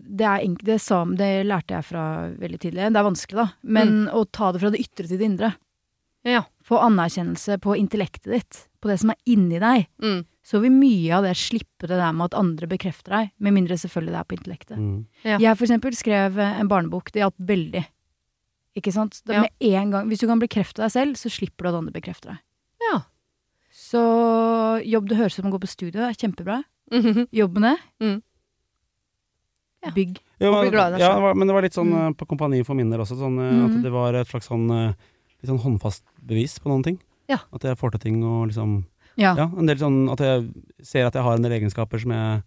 Speaker 5: Det, er, egentlig- det, sa, det lærte jeg fra veldig tidlig. Det er vanskelig, da. Men å ta det fra det ytre til det indre.
Speaker 1: Mm. Ja.
Speaker 5: Få anerkjennelse på intellektet ditt. På det som er inni deg.
Speaker 1: Mm.
Speaker 5: Så vil mye av det slippe det der med at andre bekrefter deg. Med mindre selvfølgelig det er på intellektet.
Speaker 6: Mm.
Speaker 1: Ja.
Speaker 5: Jeg for eksempel skrev eh, en barnebok. Det hjalp veldig. Ikke sant? Da,
Speaker 1: Ja.
Speaker 5: med en gang, hvis du kan bekrefte deg selv, så slipper du at andre bekrefter deg.
Speaker 1: Ja.
Speaker 5: Så jobb det høres ut som å gå på studio, det er kjempebra.
Speaker 1: Mhm.
Speaker 5: Jobb med det.
Speaker 1: Mm. Ja.
Speaker 5: Bygg
Speaker 6: Jo,
Speaker 1: bli glad i deg
Speaker 6: ja,
Speaker 1: selv. Mm.
Speaker 6: det var, men det var litt sånn eh, på Kompani for min del også, sånn, eh, at det var et slags sånn, eh, litt sånn håndfast bevis på noen ting.
Speaker 1: Ja.
Speaker 6: At jeg får til ting og liksom
Speaker 5: Ja.
Speaker 6: Ja, en del sånn at jeg ser at jeg har en del egenskaper som jeg,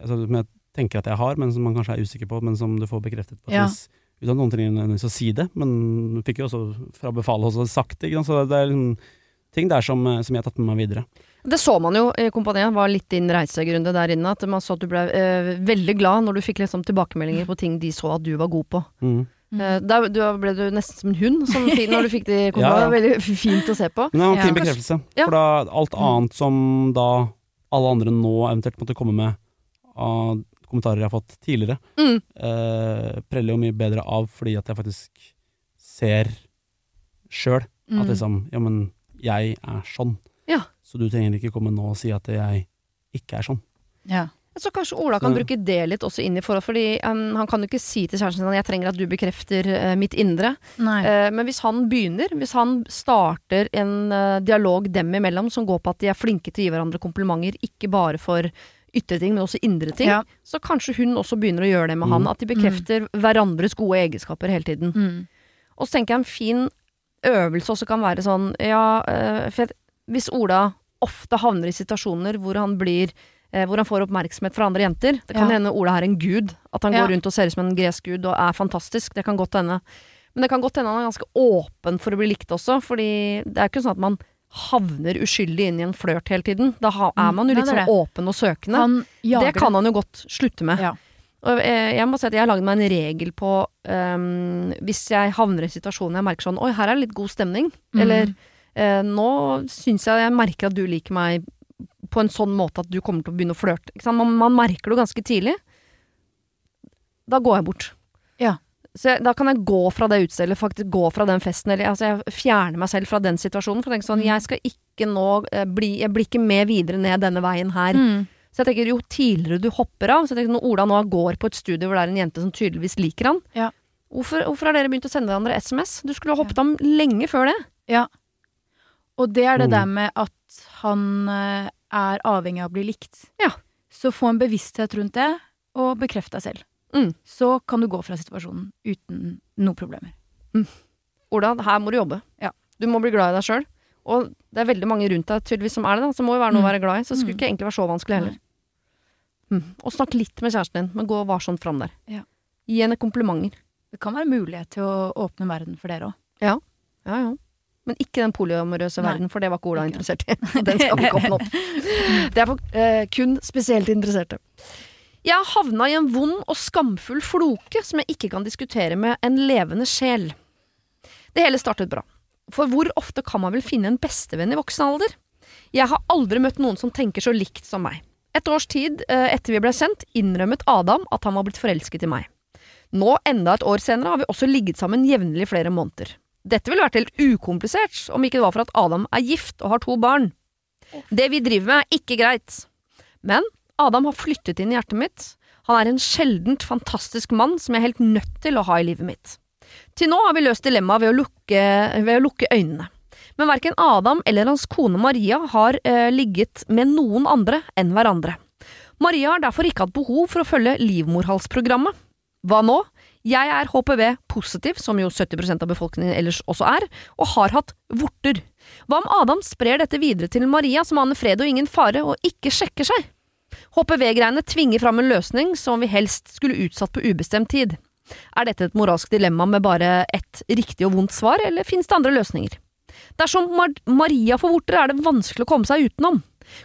Speaker 6: altså, som jeg tenker at jeg har, men som man kanskje er usikker på, men som du får bekreftet på et
Speaker 5: Ja.
Speaker 6: vis. Uten at noen trenger nødvendigvis å si det, men du fikk jo også fra befalet også sagt det. Ikke sant? Så det er liksom ting der som, eh, som jeg har tatt med meg videre.
Speaker 1: Det så man jo i kompaniet, var litt din reisegrunde der inne. At man så at du ble eh, veldig glad når du fikk liksom tilbakemeldinger på ting de så at du var god på.
Speaker 6: Mm.
Speaker 1: Eh, der, du, ble du nesten som en hund som, fi- når du fikk de kompaniet.
Speaker 6: Ja, ja.
Speaker 1: Veldig fint å se på.
Speaker 6: Men det var en
Speaker 5: Ja. Mm.
Speaker 6: fin bekreftelse.
Speaker 1: Ja.
Speaker 6: For da alt annet som da alle andre nå eventuelt måtte komme med av kommentarer jeg har fått tidligere,
Speaker 1: Mm.
Speaker 6: eh, preller jo mye bedre av fordi at jeg faktisk ser sjøl
Speaker 5: Mm.
Speaker 6: at liksom Ja, men jeg er sånn.
Speaker 1: Ja.
Speaker 6: Så du trenger ikke komme nå og si at jeg ikke er sånn.
Speaker 5: Ja.
Speaker 1: Så kanskje Ola kan
Speaker 6: Så-
Speaker 1: bruke det litt også inn i forhold, fordi em, han kan jo ikke si til kjæresten sin at 'jeg trenger at du bekrefter eh, mitt indre'.
Speaker 5: Nei.
Speaker 1: Eh, men hvis han begynner, hvis han starter en eh, dialog dem imellom som går på at de er flinke til å gi hverandre komplimenter, ikke bare for ytre ting, men også indre ting,
Speaker 5: Ja.
Speaker 1: så kanskje hun også begynner å gjøre det med
Speaker 6: Mm.
Speaker 1: han. At de bekrefter hverandres gode egenskaper hele tiden.
Speaker 5: Mm.
Speaker 1: Og så tenker jeg en fin øvelse også kan være sånn Ja, eh, for jeg, hvis Ola ofte havner i situasjoner hvor han blir eh, hvor han får oppmerksomhet fra andre jenter. Det kan
Speaker 5: Ja.
Speaker 1: hende Ola er en gud. At han
Speaker 5: Ja.
Speaker 1: går rundt og ser ut som en gresk gud og er fantastisk. Det kan godt hende. Men det kan godt hende han er ganske åpen for å bli likt også. Fordi det er ikke sånn at man havner uskyldig inn i en flørt hele tiden. Da ha, er
Speaker 5: Mm,
Speaker 1: man jo
Speaker 5: nei,
Speaker 1: litt
Speaker 5: det er
Speaker 1: sånn åpen og søkende.
Speaker 5: Han jager
Speaker 1: det kan han jo godt slutte med.
Speaker 5: Ja.
Speaker 1: Og eh, jeg må si at jeg har lagd meg en regel på ehm, Hvis jeg havner i en situasjon jeg merker sånn Oi, her er det litt god stemning.
Speaker 5: Mm.
Speaker 1: Eller eh, nå syns jeg jeg merker at du liker meg på en sånn måte at du kommer til å begynne å flørte. Ikke sant? Man, man merker det jo ganske tidlig. Da går jeg bort.
Speaker 5: Ja.
Speaker 1: Så jeg, da kan jeg gå fra det utestedet, faktisk gå fra den festen, eller altså jeg fjerner meg selv fra den situasjonen. For jeg tenker sånn,
Speaker 5: Mm.
Speaker 1: jeg skal ikke nå eh, bli Jeg blir ikke med videre ned denne veien her.
Speaker 5: Mm.
Speaker 1: Så jeg tenker, jo tidligere du hopper av så jeg tenker, Når Ola nå går på et studie hvor det er en jente som tydeligvis liker han
Speaker 5: Ja.
Speaker 1: hvorfor, hvorfor har dere begynt å sende hverandre SMS? Du skulle ha hoppet av lenge før det.
Speaker 5: Og det er det
Speaker 6: Mm.
Speaker 5: der med at han eh, er avhengig av å bli likt.
Speaker 1: Ja.
Speaker 5: Så få en bevissthet rundt det, og bekreft deg selv.
Speaker 1: Mm.
Speaker 5: Så kan du gå fra situasjonen uten noen problemer.
Speaker 1: Ola, her må du jobbe.
Speaker 5: Ja.
Speaker 1: Du må bli glad i deg sjøl. Og det er veldig mange rundt deg tydeligvis som er det, da. Så må jo være noe å
Speaker 5: Mm.
Speaker 1: være glad i. Så det skulle
Speaker 5: Mm.
Speaker 1: ikke egentlig være så vanskelig heller. Mm. Og snakk litt med kjæresten din, men gå varsomt fram der.
Speaker 5: Ja.
Speaker 1: Gi henne komplimenter.
Speaker 5: Det kan være mulighet til å åpne verden for dere òg.
Speaker 1: Ja, ja. Men ikke den polyamorøse
Speaker 5: Nei.
Speaker 1: verden, for det var ikke Ola
Speaker 5: Ikke
Speaker 1: interessert i. Den skal vi ikke åpne opp. Det er for eh, kun spesielt interesserte. Jeg havna i en vond og skamfull floke som jeg ikke kan diskutere med en levende sjel. Det hele startet bra. For hvor ofte kan man vel finne en bestevenn i voksen alder? Jeg har aldri møtt noen som tenker så likt som meg. Et års tid eh, etter vi ble kjent, innrømmet Adam at han var blitt forelsket i meg. Nå, enda et år senere, har vi også ligget sammen jevnlig i flere måneder. Dette ville vært helt ukomplisert om ikke det var for at Adam er gift og har to barn. Det vi driver med, er ikke greit. Men Adam har flyttet inn i hjertet mitt. Han er en sjeldent fantastisk mann som jeg er helt nødt til å ha i livet mitt. Til nå har vi løst dilemmaet ved, å lukke- ved å lukke øynene. Men verken Adam eller hans kone Maria har eh, ligget med noen andre enn hverandre. Maria har derfor ikke hatt behov for å følge livmorhalsprogrammet. Hva nå? Jeg er HPV-positiv, som jo 70 av befolkningen ellers også er, og har hatt vorter. Hva om Adam sprer dette videre til Maria, som aner fred og ingen fare, og ikke sjekker seg? HPV-greiene tvinger fram en løsning som vi helst skulle utsatt på ubestemt tid. Er dette et moralsk dilemma med bare ett riktig og vondt svar, eller finnes det andre løsninger? Dersom Mar Maria får vorter, er det vanskelig å komme seg utenom.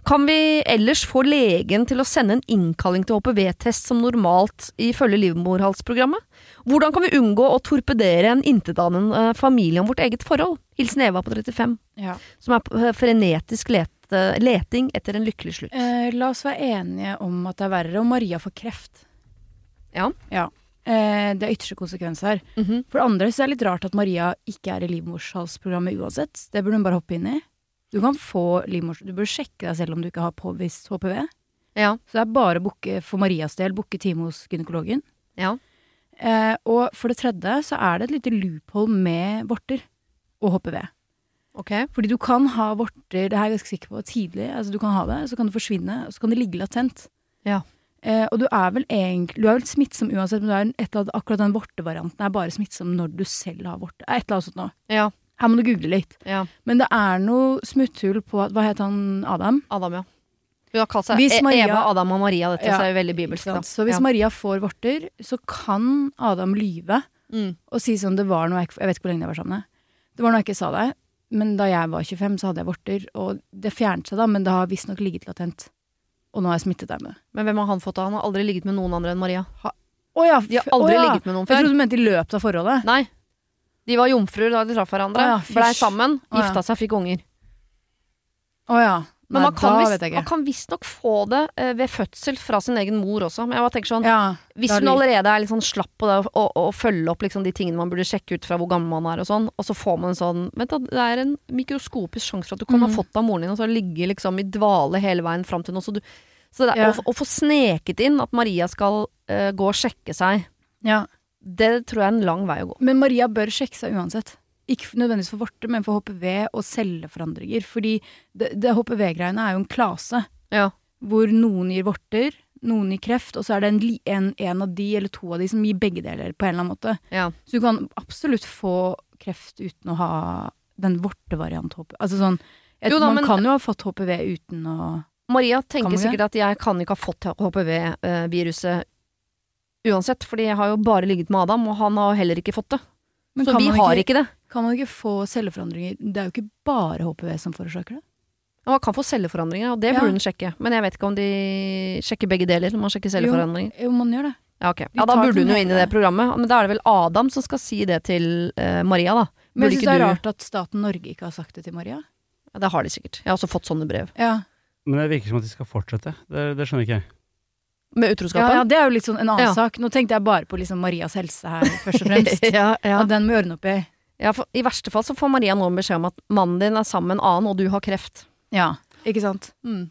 Speaker 1: Kan vi ellers få legen til å sende en innkalling til HPV-test som normalt ifølge livmorhalsprogrammet? Hvordan kan vi unngå å torpedere en intetanende eh, familie om vårt eget forhold? Hilsen Eva på 35
Speaker 5: Ja.
Speaker 1: som er på frenetisk lete, leting etter en lykkelig slutt.
Speaker 5: Eh, la oss være enige om at det er verre om Maria får kreft.
Speaker 1: Ja.
Speaker 5: Eh, det er ytterste konsekvens her.
Speaker 1: Mhm.
Speaker 5: For det andre så er det litt rart at Maria ikke er i livmorshalsprogrammet uansett. Det burde hun bare hoppe inn i. Du kan få livmors... Du bør sjekke deg selv om du ikke har påvist HPV.
Speaker 1: Ja.
Speaker 5: Så det er bare å booke, for Marias del, booke time hos gynekologen.
Speaker 1: Ja.
Speaker 5: Eh, og for det tredje så er det et lite loophole med vorter og HPV.
Speaker 1: Ok.
Speaker 5: Fordi du kan ha vorter, det her er jeg ganske sikker på, tidlig. Altså du kan ha det, så kan det forsvinne, og så kan det ligge latent.
Speaker 1: Ja.
Speaker 5: Eh, og du er vel egentlig Du er vel smittsom uansett, men du er et eller annet, akkurat den vortevarianten er bare smittsom når du selv har vorte. Eh, Et eller annet sånt noe.
Speaker 1: Ja.
Speaker 5: Her må du google litt.
Speaker 1: ja.
Speaker 5: Men det er noe smutthull på at- Hva het han Adam?
Speaker 1: Adam, ja. Hun har kalt seg
Speaker 5: Hvis
Speaker 1: E-
Speaker 5: Maria-
Speaker 1: Eva, Adam og Maria, dette,
Speaker 5: Ja,
Speaker 1: så er jo veldig bibelsk.
Speaker 5: Ikke
Speaker 1: Da.
Speaker 5: sant? Så
Speaker 1: ja.
Speaker 5: hvis Maria får vorter, så kan Adam lyve
Speaker 1: Mm.
Speaker 5: og si sånn det var noe jeg, ikke- jeg vet ikke hvor lenge jeg var sammen med deg. Det var noe jeg ikke sa deg, men da jeg var 25, så hadde jeg vorter, og det fjernet seg da, men det har visstnok ligget latent. Og nå har jeg smittet deg med det.
Speaker 1: Men hvem har han fått av? Han har aldri ligget med noen andre enn Maria.
Speaker 5: Å ja,
Speaker 1: De har
Speaker 5: f-
Speaker 1: aldri
Speaker 5: å ja.
Speaker 1: ligget med noen
Speaker 5: Jeg
Speaker 1: før.
Speaker 5: trodde du mente i løpet av forholdet.
Speaker 1: Nei. De var jomfruer da de traff hverandre.
Speaker 5: Å ja, fysj.
Speaker 1: Blei sammen,
Speaker 5: Å ja.
Speaker 1: gifta seg, fikk unger.
Speaker 5: Å ja.
Speaker 1: Men
Speaker 5: Nei,
Speaker 1: man kan
Speaker 5: da
Speaker 1: visst-
Speaker 5: vet jeg
Speaker 1: man
Speaker 5: ikke.
Speaker 1: kan visstnok få det eh, ved fødsel fra sin egen mor også. Men jeg bare tenker sånn
Speaker 5: Ja,
Speaker 1: Hvis
Speaker 5: Da
Speaker 1: hun
Speaker 5: lurer-
Speaker 1: allerede er litt sånn slapp på det å, å, å følge opp liksom de tingene man burde sjekke ut fra hvor gammel man er og sånn, og så får man en sånn Vent da, det er en mikroskopisk sjanse for at du kan ha
Speaker 5: Mhm.
Speaker 1: fått av moren din, og så ligge liksom i dvale hele veien fram til nå. Så, du, så det er,
Speaker 5: Ja.
Speaker 1: å, å få sneket inn at Maria skal eh, gå og sjekke seg,
Speaker 5: ja.
Speaker 1: det tror jeg er en lang vei å gå.
Speaker 5: Men Maria bør sjekke seg uansett. Ikke for- nødvendigvis for vorter, men for HPV og celleforandringer. Fordi det, det HPV-greiene er jo en klase.
Speaker 1: Ja.
Speaker 5: Hvor noen gir vorter, noen gir kreft, og så er det en, li- en, en av de eller to av de som gir begge deler på en eller annen måte.
Speaker 1: Ja.
Speaker 5: Så du kan absolutt få kreft uten å ha den vortevariant HPV. Altså sånn, jeg,
Speaker 1: Jo da,
Speaker 5: man
Speaker 1: men-
Speaker 5: kan jo ha fått HPV uten å
Speaker 1: Maria
Speaker 5: Kan
Speaker 1: tenker
Speaker 5: man
Speaker 1: sikkert at jeg kan ikke ha fått HPV-viruset eh, uansett, fordi jeg har jo bare ligget med Adam, og han har jo heller ikke fått det.
Speaker 5: Men
Speaker 1: så
Speaker 5: kan
Speaker 1: vi
Speaker 5: man
Speaker 1: har ikke det.
Speaker 5: Kan man ikke få celleforandringer? Det er jo ikke bare HPV som forårsaker det.
Speaker 1: Ja, Man kan få celleforandringer, og det
Speaker 5: Ja.
Speaker 1: burde hun sjekke. Men jeg vet ikke om de sjekker begge deler. Når man sjekker celleforandringer
Speaker 5: Jo, man gjør det.
Speaker 1: Ja, ok.
Speaker 5: Vi
Speaker 1: ja Da
Speaker 5: tar
Speaker 1: burde
Speaker 5: den
Speaker 1: hun jo inn i
Speaker 5: hele.
Speaker 1: det programmet. Men da er det vel Adam som skal si det til eh, Maria, da.
Speaker 5: Men
Speaker 1: Burde
Speaker 5: jeg syns
Speaker 1: ikke
Speaker 5: det er
Speaker 1: du
Speaker 5: rart at staten Norge ikke har sagt det til Maria.
Speaker 1: Ja, Det har de sikkert. Jeg har også fått sånne brev.
Speaker 5: Ja,
Speaker 6: Men det virker som at de skal fortsette. Det, det skjønner ikke jeg.
Speaker 1: Med
Speaker 5: ja, ja
Speaker 1: utroskapen.
Speaker 5: det er jo litt sånn en annen
Speaker 1: Ja.
Speaker 5: sak. Nå tenkte jeg bare på liksom Marias helse her, først og fremst.
Speaker 1: ja, ja.
Speaker 5: Og den må vi ordne opp i.
Speaker 1: Ja, for, I verste fall så får Maria nå en beskjed om at mannen din er sammen med en annen, og du har kreft.
Speaker 5: Ja, ikke sant?
Speaker 1: Mm.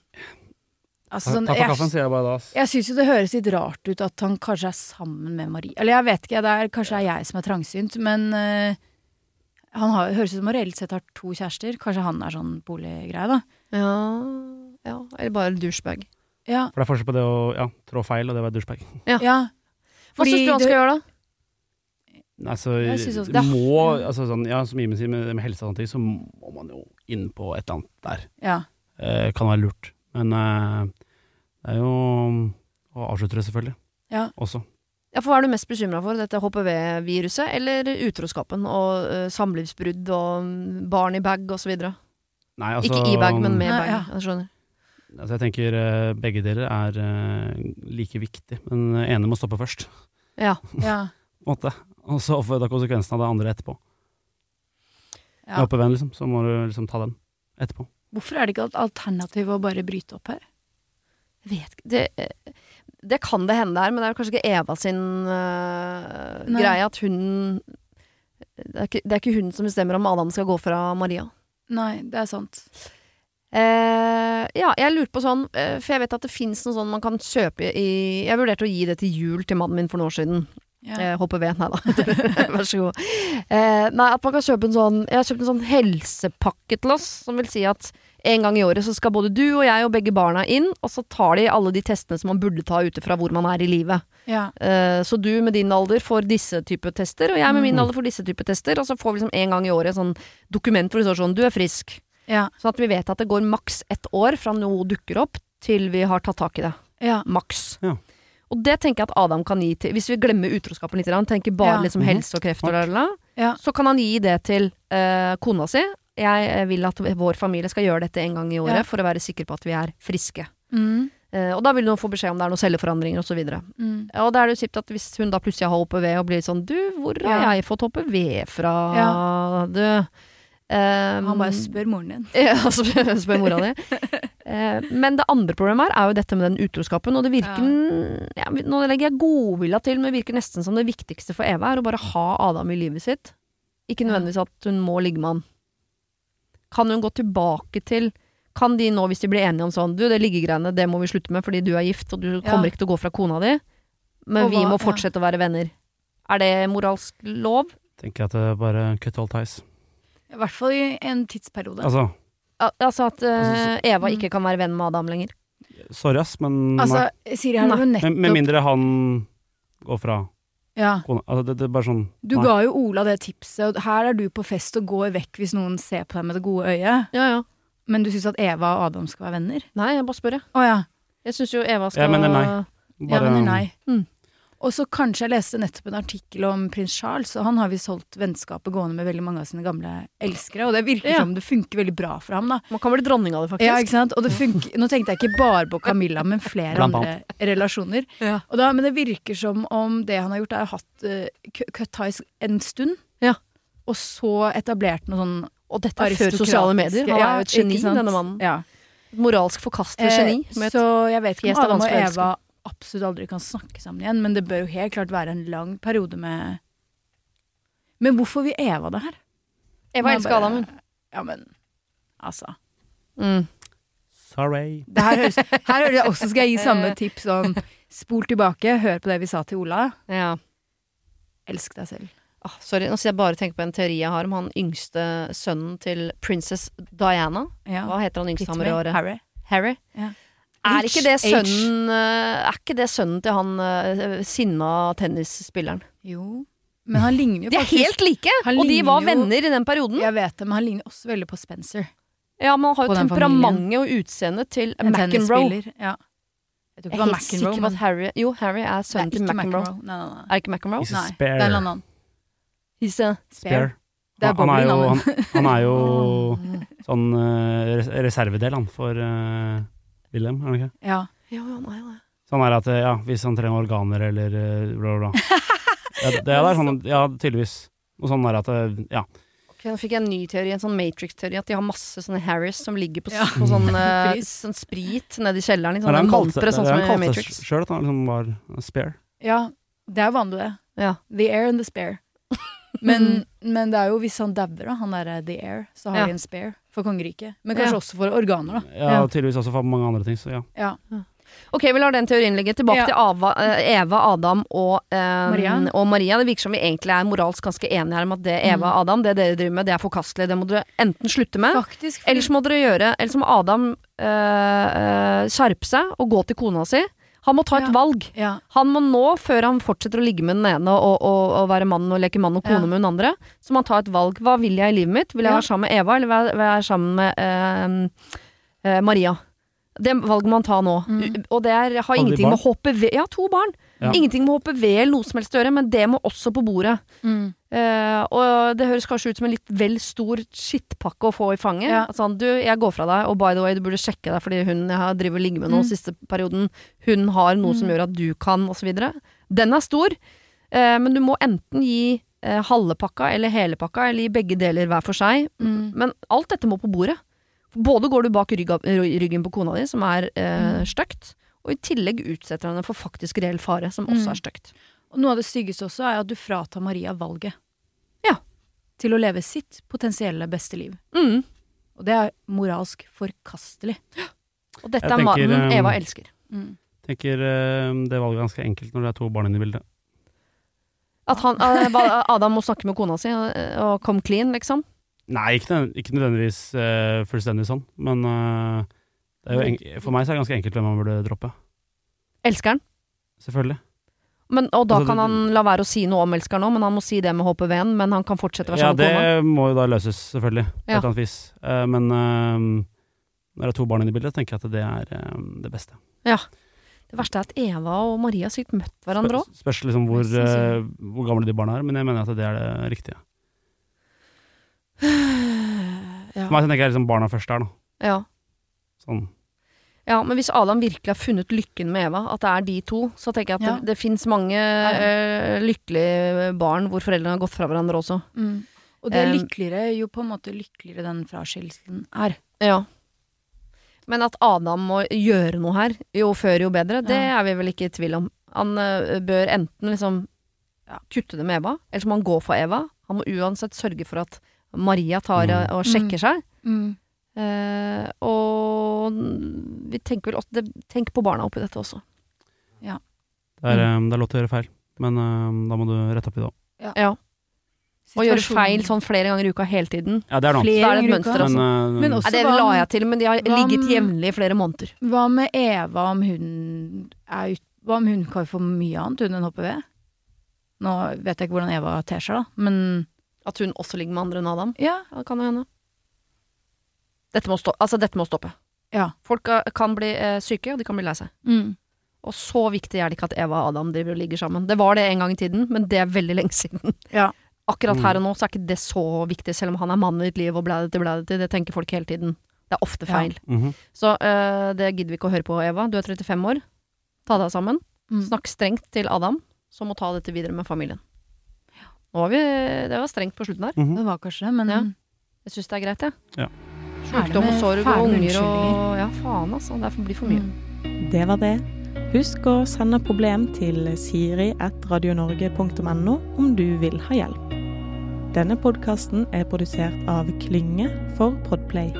Speaker 5: Altså,
Speaker 6: Ta,
Speaker 5: sånn,
Speaker 6: ta for kaffen,
Speaker 5: jeg
Speaker 6: sier jeg bare da. ass.
Speaker 5: jeg syns jo det høres litt rart ut at han kanskje er sammen med Marie. Eller jeg vet ikke, det er kanskje det er jeg som er trangsynt, men eh, han har, høres ut som han reelt sett har to kjærester. Kanskje han er sånn boliggreie, da.
Speaker 1: Ja, ja. Eller bare douchebag.
Speaker 5: Ja.
Speaker 6: For det er forskjell på det å ja, trå feil og det å være douchebag.
Speaker 5: ja.
Speaker 1: Hva
Speaker 5: Fordi
Speaker 1: syns du han
Speaker 5: det-
Speaker 1: skal gjøre, da?
Speaker 6: Altså,
Speaker 5: Jeg synes også-
Speaker 6: det
Speaker 5: det-
Speaker 6: må, altså sånn, ja, som Imen sier, med, med helse og sånne ting, så må man jo inn på et eller annet der.
Speaker 5: Ja.
Speaker 6: Eh, kan være lurt. Men eh, det er jo å avslutte det, selvfølgelig.
Speaker 5: Ja.
Speaker 6: Også.
Speaker 1: Ja, for Hva er du mest bekymra for? Dette HPV-viruset eller utroskapen? Og eh, samlivsbrudd og mm, barn i bag osv.? videre
Speaker 6: Nei, altså,
Speaker 1: Ikke i bag, men med
Speaker 5: Ja,
Speaker 1: bag.
Speaker 5: ja.
Speaker 1: Jeg skjønner.
Speaker 6: Altså, jeg tenker eh, begge deler er eh, like viktig, men den ene må stoppe først.
Speaker 1: Ja.
Speaker 5: ja.
Speaker 6: På en måte. Og så får du ta konsekvensen av det andre etterpå.
Speaker 5: Ja.
Speaker 6: Med HPV-en, liksom, så må du liksom ta den etterpå.
Speaker 5: Hvorfor er det ikke et alternativ å bare bryte opp her?
Speaker 1: Jeg vet ikke det, eh, det kan det hende her, men det er jo kanskje ikke Eva sin eh,
Speaker 5: Nei.
Speaker 1: greie at hun det er, ikke, det er ikke hun som bestemmer om Adam skal gå fra Maria.
Speaker 5: Nei, det er sant.
Speaker 1: Eh, ja, jeg lurte på sånn, eh, for jeg vet at det fins noe sånn man kan kjøpe i Jeg vurderte å gi det til jul til mannen min for noen år siden.
Speaker 5: Ja.
Speaker 1: Eh, HPV, nei da. Vær så god. Eh, nei, at man kan kjøpe en sånn Jeg har kjøpt en sånn helsepakke til oss, som vil si at en gang i året så skal både du og jeg og begge barna inn, og så tar de alle de testene som man burde ta ut ifra hvor man er i livet.
Speaker 5: Ja.
Speaker 1: Eh, så du med din alder får disse type tester, og jeg med min
Speaker 6: Mm.
Speaker 1: alder får disse type tester, og så får vi liksom en gang i året sånn dokument hvor det står sånn du er frisk.
Speaker 5: Ja.
Speaker 1: Sånn at vi vet at det går maks ett år fra noe dukker opp til vi har tatt tak i det.
Speaker 5: ja.
Speaker 1: Maks.
Speaker 6: Ja.
Speaker 1: Og det tenker jeg at Adam kan gi til Hvis vi glemmer utroskapen litt, grann, tenker bare
Speaker 5: Ja.
Speaker 1: liksom
Speaker 6: Mhm.
Speaker 1: helse og kreft, og la, la, la,
Speaker 5: Ja.
Speaker 1: så kan han gi det til eh, kona si. Jeg eh, vil at vår familie skal gjøre dette en gang i året
Speaker 5: Ja.
Speaker 1: for å være sikker på at vi er friske.
Speaker 5: Mm.
Speaker 1: Eh, og da vil hun få beskjed om det er noen celleforandringer osv. Og, så
Speaker 5: Mm.
Speaker 1: og da er det jo kjipt at hvis hun da plutselig har HPV og blir sånn Du, hvor har
Speaker 5: Ja.
Speaker 1: jeg fått HPV fra, du? Eh,
Speaker 5: Han bare spør moren din.
Speaker 1: ja, altså, spør mora di. Eh, Men det andre problemet her er jo dette med den utroskapen, og det virker ja. Nå legger jeg godvilja til, men det virker nesten som det viktigste for Eva er å bare ha Adam i livet sitt. Ikke nødvendigvis at hun må ligge med han. Kan hun gå tilbake til Kan de nå, hvis de blir enige om sånn Du, det liggegreiene, det må vi slutte med fordi du er gift, og du kommer ikke til å gå fra kona di, men
Speaker 5: Og
Speaker 1: vi
Speaker 5: hva-
Speaker 1: må fortsette å være venner. Er det moralsk lov?
Speaker 6: Tenker jeg at det er bare cut all ties.
Speaker 5: I hvert fall i en tidsperiode.
Speaker 6: Altså,
Speaker 1: Al altså at eh,
Speaker 6: Altså,
Speaker 1: Eva
Speaker 5: Mm.
Speaker 1: ikke kan være venn med Adam lenger?
Speaker 6: Sorry, ass, men
Speaker 5: Altså, Siri har jo
Speaker 6: nei. med, med
Speaker 5: nettopp
Speaker 6: mindre han går fra
Speaker 5: ja.
Speaker 6: kona altså, det, det er bare sånn
Speaker 5: Du
Speaker 6: nei.
Speaker 5: ga jo Ola det tipset, og her er du på fest og går vekk hvis noen ser på deg med det gode øyet.
Speaker 1: Ja, ja.
Speaker 5: Men du syns at Eva og Adam skal være venner?
Speaker 1: Nei, jeg bare spør, jeg.
Speaker 5: Å ja.
Speaker 1: Jeg syns jo Eva skal
Speaker 6: Jeg mener nei.
Speaker 5: Jeg
Speaker 6: Bare-
Speaker 5: mener nei.
Speaker 1: Mm.
Speaker 5: Og så kanskje jeg leste nettopp en artikkel om prins Charles, og han har visst holdt vennskapet gående med veldig mange av sine gamle elskere, og det virker
Speaker 1: Ja.
Speaker 5: som det funker veldig bra for ham, da.
Speaker 1: Man kan bli dronning av det, faktisk.
Speaker 5: Ja, ikke sant? Og det funker, nå tenkte jeg ikke bare på Camilla, men flere
Speaker 6: Blant
Speaker 5: andre relasjoner.
Speaker 1: Ja.
Speaker 5: Og da, men det virker som om det han har gjort, er å ha hatt uh, cut ties en stund,
Speaker 1: Ja.
Speaker 5: og så etablert noe sånn
Speaker 1: Og dette er før sosiale medier. Han
Speaker 5: ja,
Speaker 1: er jo et geni,
Speaker 5: ikke sant?
Speaker 1: denne mannen. Eh,
Speaker 5: Ja. Eh,
Speaker 1: Et moralsk forkastelig geni. Med et,
Speaker 5: så jeg vet ikke
Speaker 1: fjes
Speaker 5: om
Speaker 1: av
Speaker 5: Adam
Speaker 1: hans
Speaker 5: og
Speaker 1: forelskede.
Speaker 5: Eva absolutt aldri kan snakke sammen igjen, men det bør jo helt klart være en lang periode med Men hvorfor vil Eva det her?
Speaker 1: Eva
Speaker 5: Hun er
Speaker 1: elsker
Speaker 5: bare-
Speaker 1: Adam, hun.
Speaker 5: Ja, men altså.
Speaker 1: Mm.
Speaker 6: Sorry.
Speaker 5: Det her høres, her høres jeg også skal jeg gi
Speaker 1: Eh.
Speaker 5: samme tips sånn spol tilbake, hør på det vi sa til Ola.
Speaker 1: Ja.
Speaker 5: Elsk deg selv.
Speaker 1: Ah, sorry, nå sitter jeg bare og tenker på en teori jeg har om han yngste sønnen til princess Diana.
Speaker 5: Ja.
Speaker 1: Hva heter han
Speaker 5: Hit
Speaker 1: yngste
Speaker 5: me,
Speaker 1: hammeråret?
Speaker 5: Harry.
Speaker 1: Harry.
Speaker 5: Ja.
Speaker 1: Er
Speaker 5: H,
Speaker 1: ikke, det
Speaker 5: H.
Speaker 1: sønnen, eh, er ikke det sønnen til han eh, sinna tennisspilleren?
Speaker 5: Jo. Men han ligner jo
Speaker 1: De er
Speaker 5: faktisk
Speaker 1: helt like!
Speaker 5: han
Speaker 1: Og de
Speaker 5: ligner
Speaker 1: var
Speaker 5: jo-
Speaker 1: venner i den perioden.
Speaker 5: Jeg vet det, men han ligner også veldig på Spencer.
Speaker 1: Ja, men han har jo
Speaker 5: På den
Speaker 1: temperamentet og utseendet til
Speaker 5: en
Speaker 1: McEnroe.
Speaker 5: tennisspiller. Ja.
Speaker 1: Jeg
Speaker 5: Jeg tror ikke
Speaker 1: er
Speaker 5: det var
Speaker 1: helt sikker
Speaker 5: McEnroe,
Speaker 1: på at
Speaker 5: men
Speaker 1: Harry Jo, Harry er
Speaker 5: det er
Speaker 1: sønnen til
Speaker 5: ikke
Speaker 1: McEnroe.
Speaker 5: McEnroe. Nei, nei, nei.
Speaker 1: Er det ikke McEnroe?
Speaker 6: He's a
Speaker 5: Nei, det
Speaker 6: spare.
Speaker 5: er en annen.
Speaker 1: He's a-
Speaker 5: Spare. Det er
Speaker 6: Han, han er jo,
Speaker 5: bowling,
Speaker 6: han, han er jo
Speaker 1: Mm.
Speaker 6: sånn eh, res- reservedel, han, for eh, Wilhelm, er han ikke?
Speaker 5: Ja.
Speaker 1: Ja, ja, nei, nei.
Speaker 6: Sånn er at eh, ja, hvis han trenger organer eller eh, bla, bla, bla. Ja, det, det er sånn, ja, tydeligvis. Og sånn er at eh, ja.
Speaker 1: Ok, nå fikk jeg en ny teori, en sånn Matrix-teori, at de har masse sånne Harris som ligger på, s-
Speaker 5: Ja.
Speaker 1: på sånn, eh,
Speaker 5: Fris.
Speaker 1: sånn sprit nede i kjelleren, i
Speaker 6: Det er
Speaker 1: sånne
Speaker 6: han kalte-
Speaker 1: montre, sånn
Speaker 6: det
Speaker 1: som
Speaker 6: er han
Speaker 1: i
Speaker 6: kalte
Speaker 1: Matrix.
Speaker 6: seg sjøl at han liksom var spare.
Speaker 5: ja, det er vanlig det.
Speaker 1: Ja.
Speaker 5: The air and the spare. Men, men det er jo hvis han dauer, da, han derre the air, så
Speaker 1: Mm.
Speaker 5: har
Speaker 1: Ja.
Speaker 5: de en spare for kongeriket. Men kanskje
Speaker 1: Ja.
Speaker 5: også for organer, da.
Speaker 6: Ja, tydeligvis også for mange andre ting, så ja.
Speaker 5: Ja.
Speaker 1: Ok, vi lar den teorien ligge. Tilbake
Speaker 5: Ja.
Speaker 1: til Ava, eh, Eva, Adam og, eh,
Speaker 5: Maria.
Speaker 1: og Maria. Det virker som vi egentlig er moralsk ganske enige her om at det
Speaker 5: Mm.
Speaker 1: Eva og Adam, det dere driver med, det er forkastelig. Det må dere enten slutte med,
Speaker 5: Faktisk. fordi-
Speaker 1: ellers må dere gjøre Ellers må Adam eh, eh, skjerpe seg og gå til kona si. Han må ta et
Speaker 5: Ja.
Speaker 1: valg.
Speaker 5: ja.
Speaker 1: Han må nå, før han fortsetter å ligge med den ene og, og, og være mann og leke mann og kone
Speaker 5: Ja.
Speaker 1: med hun andre, så må han ta et valg. Hva vil jeg i livet mitt? Vil jeg
Speaker 5: Ja.
Speaker 1: være sammen med Eva, eller være, være sammen med eh, eh, Maria? Det valget må han ta nå. U-
Speaker 5: Mm.
Speaker 1: Og det er, har
Speaker 6: de
Speaker 1: ingenting
Speaker 6: barn?
Speaker 1: med å hoppe ved Ja, to barn.
Speaker 6: Ja.
Speaker 1: Ingenting med å hoppe ved eller noe som helst å gjøre, men det må også på bordet.
Speaker 5: Mm.
Speaker 1: Eh, og det høres kanskje ut som en litt vel stor skittpakke å få i fanget.
Speaker 5: Ja.
Speaker 1: Altså, du, jeg går fra deg, og by the way, du burde sjekke deg fordi hun jeg har driver og ligger med nå
Speaker 5: Mm.
Speaker 1: siste perioden, hun har noe som gjør at du kan, osv. Den er stor, eh, men du må enten gi eh, halve pakka eller hele pakka, eller gi begge deler hver for seg.
Speaker 5: Mm.
Speaker 1: Men alt dette må på bordet. Både går du bak rygga, ryggen på kona di, som er
Speaker 5: Mm.
Speaker 1: eh, stygt, og i tillegg utsetter han henne for faktisk reell fare, som også
Speaker 5: Mm.
Speaker 1: er stygt.
Speaker 5: Og noe av det styggeste også er at du fratar Maria valget.
Speaker 1: Ja.
Speaker 5: Til å leve sitt potensielle beste liv.
Speaker 1: Mm.
Speaker 5: Og det er moralsk forkastelig.
Speaker 1: Og dette
Speaker 6: Jeg
Speaker 1: er
Speaker 6: tenker,
Speaker 5: um,
Speaker 1: mannen
Speaker 6: eh,
Speaker 1: Eva elsker.
Speaker 6: Tenker eh, det valget er ganske enkelt når det er to barn inne i bildet.
Speaker 1: At han, eh, ba- Adam må snakke med kona si eh, og come clean, liksom.
Speaker 6: Nei, ikke, nød- ikke nødvendigvis eh, fullstendig sånn, men eh, det er jo enk- for meg så er det ganske enkelt hvem man burde droppe.
Speaker 1: Elskeren.
Speaker 6: Selvfølgelig.
Speaker 1: Men, og da
Speaker 6: Altså,
Speaker 1: kan
Speaker 6: det-
Speaker 1: han la være å si noe om elskeren òg, men han må si det med HPV-en. Men han kan fortsette å være
Speaker 6: Ja,
Speaker 1: sammen
Speaker 6: det sånn
Speaker 1: med kona.
Speaker 6: må jo da løses, selvfølgelig, på
Speaker 1: Ja.
Speaker 6: et eller annet vis. Eh, men eh, når det er to barn inne i bildet, tenker jeg at det er eh, det beste.
Speaker 1: Det verste er at Eva og Maria har sikkert møtt hverandre òg.
Speaker 6: Spør- Spørs liksom hvor,
Speaker 5: Mest sannsynlig.
Speaker 6: eh, hvor gamle de barna er, men jeg mener at det er det riktige.
Speaker 1: Ja.
Speaker 6: For meg så tenker jeg liksom barna først der, da.
Speaker 1: Ja.
Speaker 6: Sånn.
Speaker 1: ja, men hvis Adam virkelig har funnet lykken med Eva, at det er de to, så tenker jeg at
Speaker 5: Ja.
Speaker 1: det, det fins mange eh, lykkelige barn hvor foreldrene har gått fra hverandre også.
Speaker 5: Mm. Og det er
Speaker 1: Um,
Speaker 5: lykkeligere jo på en måte lykkeligere den fraskillelsen er.
Speaker 1: Ja. Men at Adam må gjøre noe her, jo før jo bedre, det
Speaker 5: Ja.
Speaker 1: er vi vel ikke i tvil om. Han ø, bør enten liksom kutte det med Eva, eller så må han gå for Eva. Han må uansett sørge for at Maria tar
Speaker 6: Mm.
Speaker 1: og sjekker seg. Mm. Eh, og vi tenker vel også Tenk på barna oppi dette også. Mm.
Speaker 6: Det er, eh, det er lov til å gjøre feil, men eh, da må du rette opp i det òg.
Speaker 1: Ja. Å gjøre
Speaker 5: Situasjonen.
Speaker 1: feil sånn flere ganger i uka hele tiden.
Speaker 6: Ja, det er noe annet.
Speaker 1: Flere Da er det et
Speaker 5: ganger i
Speaker 1: mønster,
Speaker 5: uka.
Speaker 1: altså.
Speaker 6: Men, eh,
Speaker 5: Men også-
Speaker 1: Nei, det
Speaker 5: hva om-
Speaker 1: la jeg til, men de har
Speaker 5: hva om-
Speaker 1: ligget jevnlig i flere måneder.
Speaker 5: eh, Hva med Eva om hun er ut... Hva om hun kan få mye annet hun enn HPV? Nå vet jeg ikke hvordan Eva ter seg, da, men
Speaker 1: At hun også ligger med andre enn Adam.
Speaker 5: ja.
Speaker 1: Ja, det kan jo hende. Dette må, stå, altså, dette må stoppe.
Speaker 5: Ja.
Speaker 1: Folk eh, kan bli eh, syke, og de kan bli lei seg.
Speaker 5: Mm.
Speaker 1: Og så viktig er det ikke at Eva og Adam driver og ligger sammen. Det var det en gang i tiden, men det er veldig lenge siden.
Speaker 5: Ja.
Speaker 1: Akkurat her og nå så er ikke det så viktig, selv om han er mannen i ditt liv og blædete, blædete. Det tenker folk hele tiden. Det er ofte
Speaker 5: Ja.
Speaker 1: feil.
Speaker 6: mhm.
Speaker 1: Så eh, det gidder vi ikke å høre på, Eva. Du er 35 år. Ta deg sammen.
Speaker 5: Mm.
Speaker 1: Snakk strengt til Adam, som må ta dette videre med familien. Nå var vi, det var strengt på slutten her.
Speaker 6: mhm.
Speaker 5: Det var kanskje det, men
Speaker 1: Ja. Jeg syns det er greit, jeg.
Speaker 6: Ja.
Speaker 1: Sjukdom og sorg og unger
Speaker 5: unnskyldninger.
Speaker 1: og Ja, faen, altså. Det blir for mye.
Speaker 7: Det var det. Husk å sende problem til siri.radionorge.no om du vil ha hjelp. Denne podkasten er produsert av Klynge for Podplay.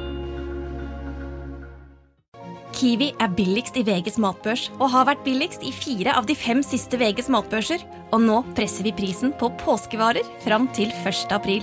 Speaker 4: Kiwi er billigst i VGs matbørs og har vært billigst i fire av de fem siste VGs matbørser. Og nå presser vi prisen på påskevarer fram til 1. april.